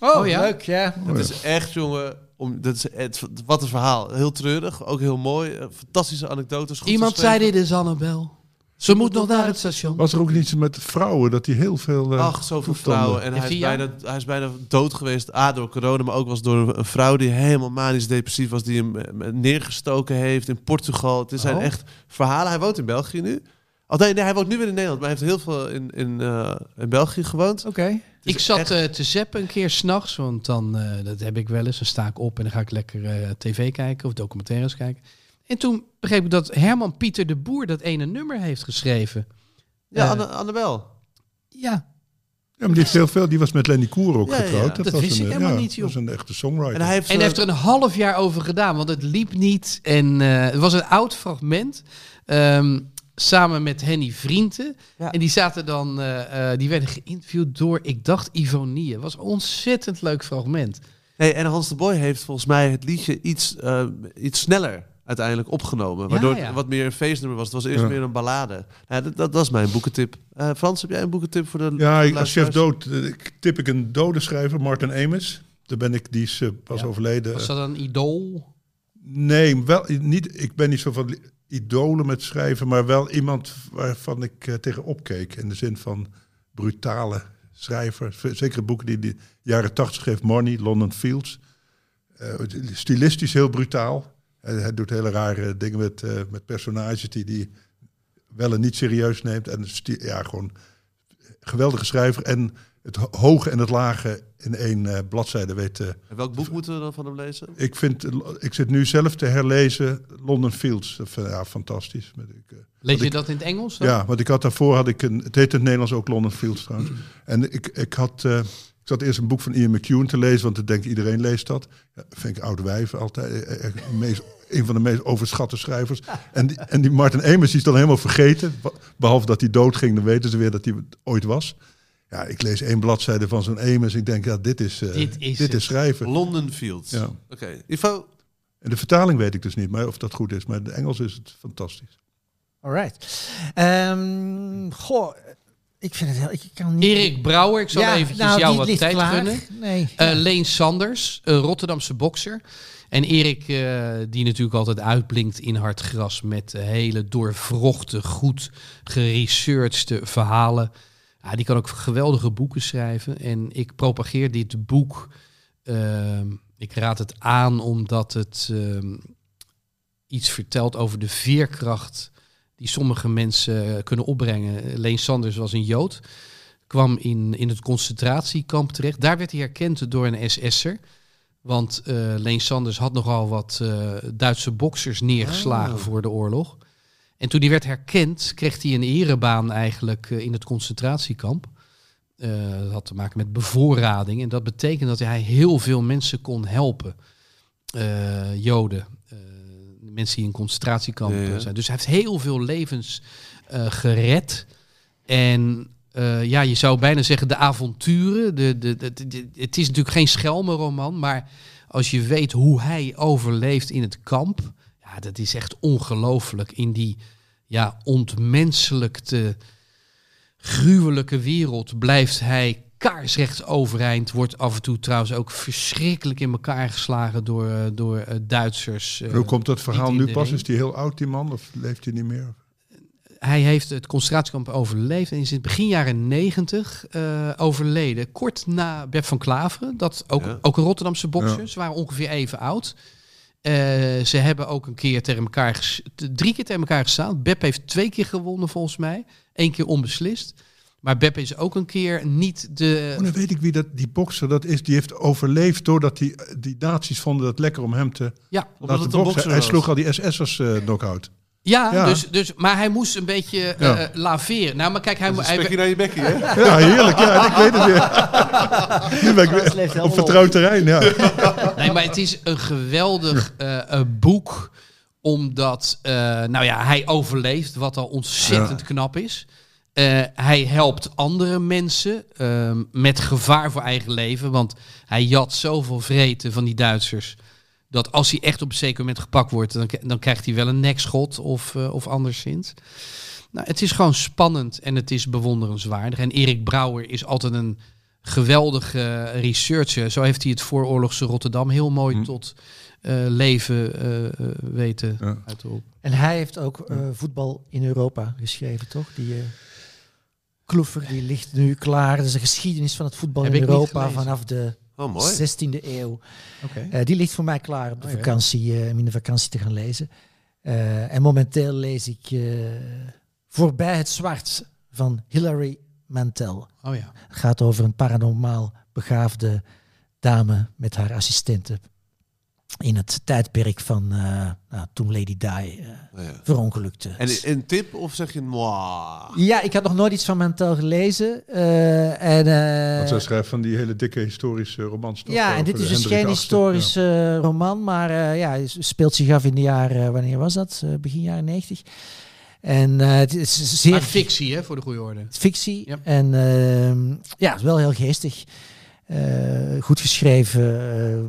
Speaker 3: Oh, ja. leuk.
Speaker 6: ja.
Speaker 4: Dat is echt, jongen, om, dat is, het, wat een verhaal. Heel treurig, ook heel mooi. eh, Fantastische anekdotes. goed
Speaker 3: Iemand zei
Speaker 4: geschreven.
Speaker 3: dit is Annabel. Ze moet nog naar het station.
Speaker 2: Was er ook iets met vrouwen, dat hij heel veel... eh,
Speaker 4: Ach, zoveel
Speaker 2: toestanden.
Speaker 4: vrouwen. En hij is,
Speaker 3: Via?
Speaker 4: bijna, hij is bijna dood geweest. A, door corona, maar ook was door een- een vrouw die helemaal manisch depressief was. Die hem eh, neergestoken heeft in Portugal. Het zijn
Speaker 3: Oh.
Speaker 4: echt verhalen. Hij woont in België nu. Oh, nee, nee, hij woont nu weer in Nederland. Maar hij heeft heel veel in, in, eh, in België gewoond.
Speaker 6: Oké.
Speaker 3: Ik
Speaker 4: is
Speaker 3: zat
Speaker 4: echt-
Speaker 3: eh, te zappen een keer s'nachts, want dan, eh, dat heb ik wel eens, dan sta ik op en dan ga ik lekker eh, tv kijken of documentaires kijken. En toen begreep ik dat Herman Pieter de Boer dat ene nummer heeft geschreven.
Speaker 4: Ja,
Speaker 3: eh,
Speaker 4: Anne, Annabel.
Speaker 3: Ja,
Speaker 2: Ja, maar die heeft heel veel. Die was met Lenny Koer ook
Speaker 4: Ja, ja,
Speaker 2: getrouwd.
Speaker 4: ja.
Speaker 3: Dat
Speaker 2: was
Speaker 3: wist
Speaker 2: een,
Speaker 3: ik
Speaker 2: eh,
Speaker 3: helemaal
Speaker 2: ja,
Speaker 3: niet, joh.
Speaker 2: Dat was een echte songwriter.
Speaker 4: En hij heeft,
Speaker 3: en hij heeft
Speaker 4: eh,
Speaker 3: er een half jaar over gedaan, want het liep niet. En eh, het was een oud fragment, ehm, samen met Henny Vrienden.
Speaker 4: Ja.
Speaker 3: En die zaten dan, eh, eh, die werden geïnterviewd door, ik dacht, Ivonie. Het was een ontzettend leuk fragment.
Speaker 4: nee, en Hans de Boy heeft volgens mij het liedje iets, eh, iets sneller uiteindelijk opgenomen. Waardoor
Speaker 3: ja.
Speaker 4: het wat meer een feestnummer was. Het was eerst
Speaker 2: Ja.
Speaker 4: meer een ballade. Ja, dat, dat, dat is mijn boekentip. Eh, Frans, heb jij een boekentip voor de
Speaker 2: Ja, ik- als chef
Speaker 4: luisteraars?
Speaker 2: dood eh, ik- tip ik een dode schrijver, Martin Amis. Daar ben ik, die is eh, pas
Speaker 4: Ja.
Speaker 2: overleden.
Speaker 3: Was dat een idool?
Speaker 2: Nee, wel niet. Ik ben niet zo van li- idolen met schrijven, maar wel iemand waarvan ik eh, tegen opkeek. In de zin van brutale schrijver. V- Zeker boeken die de jaren tachtig schreef, Money, London Fields. Eh, het is stilistisch heel brutaal. Hij, hij doet hele rare dingen met, eh, met personages die hij wel en niet serieus neemt. En sti- ja, gewoon geweldige schrijver. En het ho- hoge en het lage in één eh, bladzijde weet eh,
Speaker 4: En welk boek moeten we dan van hem lezen?
Speaker 2: ik, vind, ik zit nu zelf te herlezen London Fields. Dat vind ik, Ja, fantastisch. Met ik, eh,
Speaker 3: Lees je
Speaker 2: ik-
Speaker 3: dat in het Engels? dan? Mm.
Speaker 2: ja, want ik had daarvoor had ik een. Het heet in het Nederlands ook London Fields trouwens. En ik, ik had. eh, Ik zat eerst een boek van Ian McEwan te lezen, want ik denk iedereen leest dat. Ja, vind ik oude wijven altijd. eh, eh, meest- een van de meest overschatte schrijvers. En die, en die Martin Amis die is dan helemaal vergeten. Wa- Behalve dat hij doodging, dan weten ze weer dat hij het ooit was. Ja, ik lees één bladzijde van zo'n Amis. Ik denk, ja, dit is, eh,
Speaker 3: Dit is
Speaker 2: dit
Speaker 3: het.
Speaker 2: is schrijven.
Speaker 4: London Fields.
Speaker 2: Ja.
Speaker 4: Oké, Ivo,
Speaker 2: En de vertaling weet ik dus niet maar of dat goed is. Maar in het Engels is het fantastisch.
Speaker 6: Alright. Ehm, goh, ik vind het heel... Ik kan niet...
Speaker 3: Erik Brouwer, ik zal
Speaker 6: Ja,
Speaker 3: eventjes
Speaker 6: nou,
Speaker 3: jou
Speaker 6: die
Speaker 3: wat
Speaker 6: ligt
Speaker 3: tijd
Speaker 6: klaar.
Speaker 3: gunnen.
Speaker 6: Nee.
Speaker 3: Eh, Leen Sanders, een Rotterdamse bokser. En Erik, eh, die natuurlijk altijd uitblinkt in hard gras met hele doorvrochte, goed geresearchde verhalen. Ja, die kan ook geweldige boeken schrijven. En ik propageer dit boek. ehm, ik raad het aan omdat het ehm, iets vertelt over de veerkracht die sommige mensen eh, kunnen opbrengen. Leen Sanders was een Jood kwam in, in het concentratiekamp terecht. Daar werd hij herkend door een SS'er. Want eh, Leen Sanders had nogal wat eh, Duitse boksers
Speaker 4: Oh.
Speaker 3: neergeslagen voor de oorlog. En toen hij werd herkend, kreeg hij een erebaan eigenlijk eh, in het concentratiekamp. Eh, dat had te maken met bevoorrading. En dat betekent dat hij heel veel mensen kon helpen. Eh, Joden. eh, mensen die in concentratiekampen
Speaker 4: Ja, ja.
Speaker 3: zijn. Dus hij heeft heel veel levens eh, gered. En eh, ja, je zou bijna zeggen de avonturen. De, de, de, de- de- het is natuurlijk geen schelmenroman, maar als je weet hoe hij overleeft in het kamp, ja, dat is echt ongelooflijk in die ja, ontmenselijkte, gruwelijke wereld blijft hij kaarsrecht overeind. Wordt af en toe trouwens ook verschrikkelijk in elkaar geslagen door, eh, door eh, Duitsers. eh,
Speaker 2: En hoe komt dat verhaal nu
Speaker 3: niet
Speaker 2: pas?
Speaker 3: iedereen.
Speaker 2: Is die heel oud, die man? Of leeft hij niet meer?
Speaker 3: hij heeft het concentratiekamp overleefd en is in begin jaren negentig eh, overleden. Kort na Beb van Klaveren, dat ook,
Speaker 4: Ja.
Speaker 3: ook een Rotterdamse bokser.
Speaker 2: Ja.
Speaker 3: Ze waren ongeveer even oud. Eh, ze hebben ook een keer tegen elkaar, ges- t- drie keer tegen elkaar gestaan. Beb heeft twee keer gewonnen volgens mij. Eén keer onbeslist. Maar Beb is ook een keer niet de...
Speaker 4: Eh.
Speaker 2: Oh, dan weet ik wie dat, die bokser dat is. Die heeft overleefd doordat die, die nazi's vonden het lekker om hem te
Speaker 3: Ja,
Speaker 4: Omdat
Speaker 2: laten
Speaker 4: het een
Speaker 2: boksen.
Speaker 4: bokser
Speaker 2: Hij
Speaker 4: was.
Speaker 2: sloeg al die SS'ers eh knock-out.
Speaker 3: ja,
Speaker 2: Ja.
Speaker 3: Dus, dus, maar hij moest een beetje eh,
Speaker 2: Ja.
Speaker 3: laveren. Nou, maar kijk, hij,
Speaker 4: een
Speaker 3: hij,
Speaker 4: spekje naar je bekkie, hè?
Speaker 2: Ja, heerlijk. Ja, ik weet het
Speaker 6: [laughs]
Speaker 2: weer. Nu ben ik
Speaker 6: Dat
Speaker 2: weer
Speaker 6: leeft helemaal
Speaker 2: op
Speaker 6: op. Eh.
Speaker 2: vertrouwd terrein. Ja.
Speaker 3: [laughs] Nee, maar het is een geweldig eh, eh, boek. Omdat, eh, nou ja, hij overleeft, wat al ontzettend knap is. Eh, hij helpt andere mensen ehm, met gevaar voor eigen leven. Want hij jat zoveel vreten van die Duitsers. Dat als hij echt op een zeker moment gepakt wordt, dan, k- dan krijgt hij wel een nekschot of, eh of anderszins. Nou, het is gewoon spannend en het is bewonderenswaardig. En Erik Brouwer is altijd een geweldige eh, researcher. Zo heeft hij het vooroorlogse Rotterdam heel mooi
Speaker 4: Hm.
Speaker 3: tot eh, leven eh, eh, weten
Speaker 2: Ja.
Speaker 3: uit te roepen.
Speaker 6: En hij heeft ook eh, voetbal in Europa geschreven, toch? Die eh, Kloever, die ligt nu klaar. Dat is de geschiedenis van het voetbal
Speaker 3: Heb
Speaker 6: in
Speaker 3: ik niet
Speaker 6: Europa
Speaker 3: gelezen.
Speaker 6: vanaf de
Speaker 4: Oh, mooi.
Speaker 6: 16e eeuw. Eh, die ligt voor mij klaar op de
Speaker 3: Oh, ja.
Speaker 6: vakantie, eh, om in de vakantie te gaan lezen. Eh, en momenteel lees ik eh, Voorbij het Zwart van Hilary Mantel.
Speaker 3: Oh ja.
Speaker 6: Het gaat over een paranormaal begaafde dame met haar assistenten. In het tijdperk van eh, nou, toen Lady Di eh,
Speaker 4: Nou ja.
Speaker 6: verongelukte.
Speaker 4: En een tip of zeg je moi?
Speaker 6: Ja, ik had nog nooit iets van Mantel gelezen. eh, en, eh,
Speaker 2: Want zij schrijft van die hele dikke historische romans. toch?
Speaker 6: ja, en
Speaker 2: Over
Speaker 6: dit is
Speaker 2: de
Speaker 6: dus
Speaker 2: Hendrik
Speaker 6: geen
Speaker 2: VIII.
Speaker 6: historisch eh, roman, maar eh, ja, het speelt zich af in de jaren, eh, wanneer was dat? Eh, begin jaren 90. En eh, het is zeer
Speaker 3: Maar fictie, hè, voor de goede orde.
Speaker 6: fictie.
Speaker 3: Ja.
Speaker 6: En ehm, ja, het is wel heel geestig. Eh, goed geschreven. eh,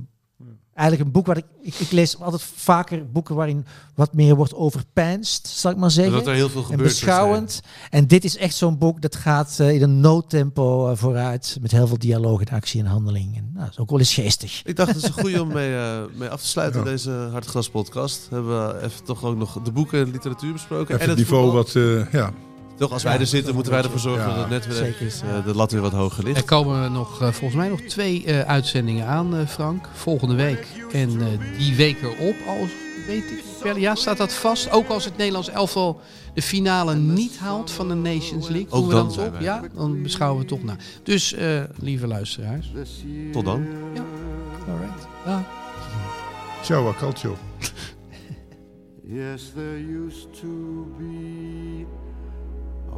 Speaker 6: eigenlijk een boek waar ik, ik... ik lees altijd vaker boeken waarin wat meer wordt overpeinst, zal ik maar zeggen.
Speaker 4: Dat er heel veel
Speaker 6: En
Speaker 4: gebeurt.
Speaker 6: beschouwend. En dit is echt zo'n boek dat gaat eh, in een noodtempo eh, vooruit. Met heel veel dialoog en actie en handeling. En, nou, dat is ook wel eens geestig.
Speaker 4: Ik dacht, het is een goede om mee, eh, mee af te sluiten
Speaker 2: Ja.
Speaker 4: deze Hartgras podcast. Hebben we even toch ook nog de boeken en literatuur besproken.
Speaker 2: Even
Speaker 4: en
Speaker 2: het niveau
Speaker 4: voetbal.
Speaker 2: wat... eh, ja.
Speaker 4: Toch, als
Speaker 6: Ja,
Speaker 4: wij er zitten, moeten wij ervoor zorgen
Speaker 2: Ja.
Speaker 4: dat het net weer
Speaker 6: Zeker.
Speaker 4: eventjes, eh, de lat weer wat hoger ligt.
Speaker 3: Er komen nog, eh, volgens mij nog twee eh, uitzendingen aan, eh, Frank. Volgende week. En eh, die week erop, als weet ik wel, ja, staat dat vast. Ook als het Nederlands elftal de finale niet haalt van de Nations League. doen we
Speaker 4: dan
Speaker 3: dat
Speaker 4: zijn
Speaker 3: toch?
Speaker 4: wij.
Speaker 3: Ja, dan beschouwen we het toch na. Dus, eh, lieve luisteraars.
Speaker 4: eh, Tot dan.
Speaker 3: Alright. Ja.
Speaker 2: Ciao, a calcio.
Speaker 5: Yes, there used to be a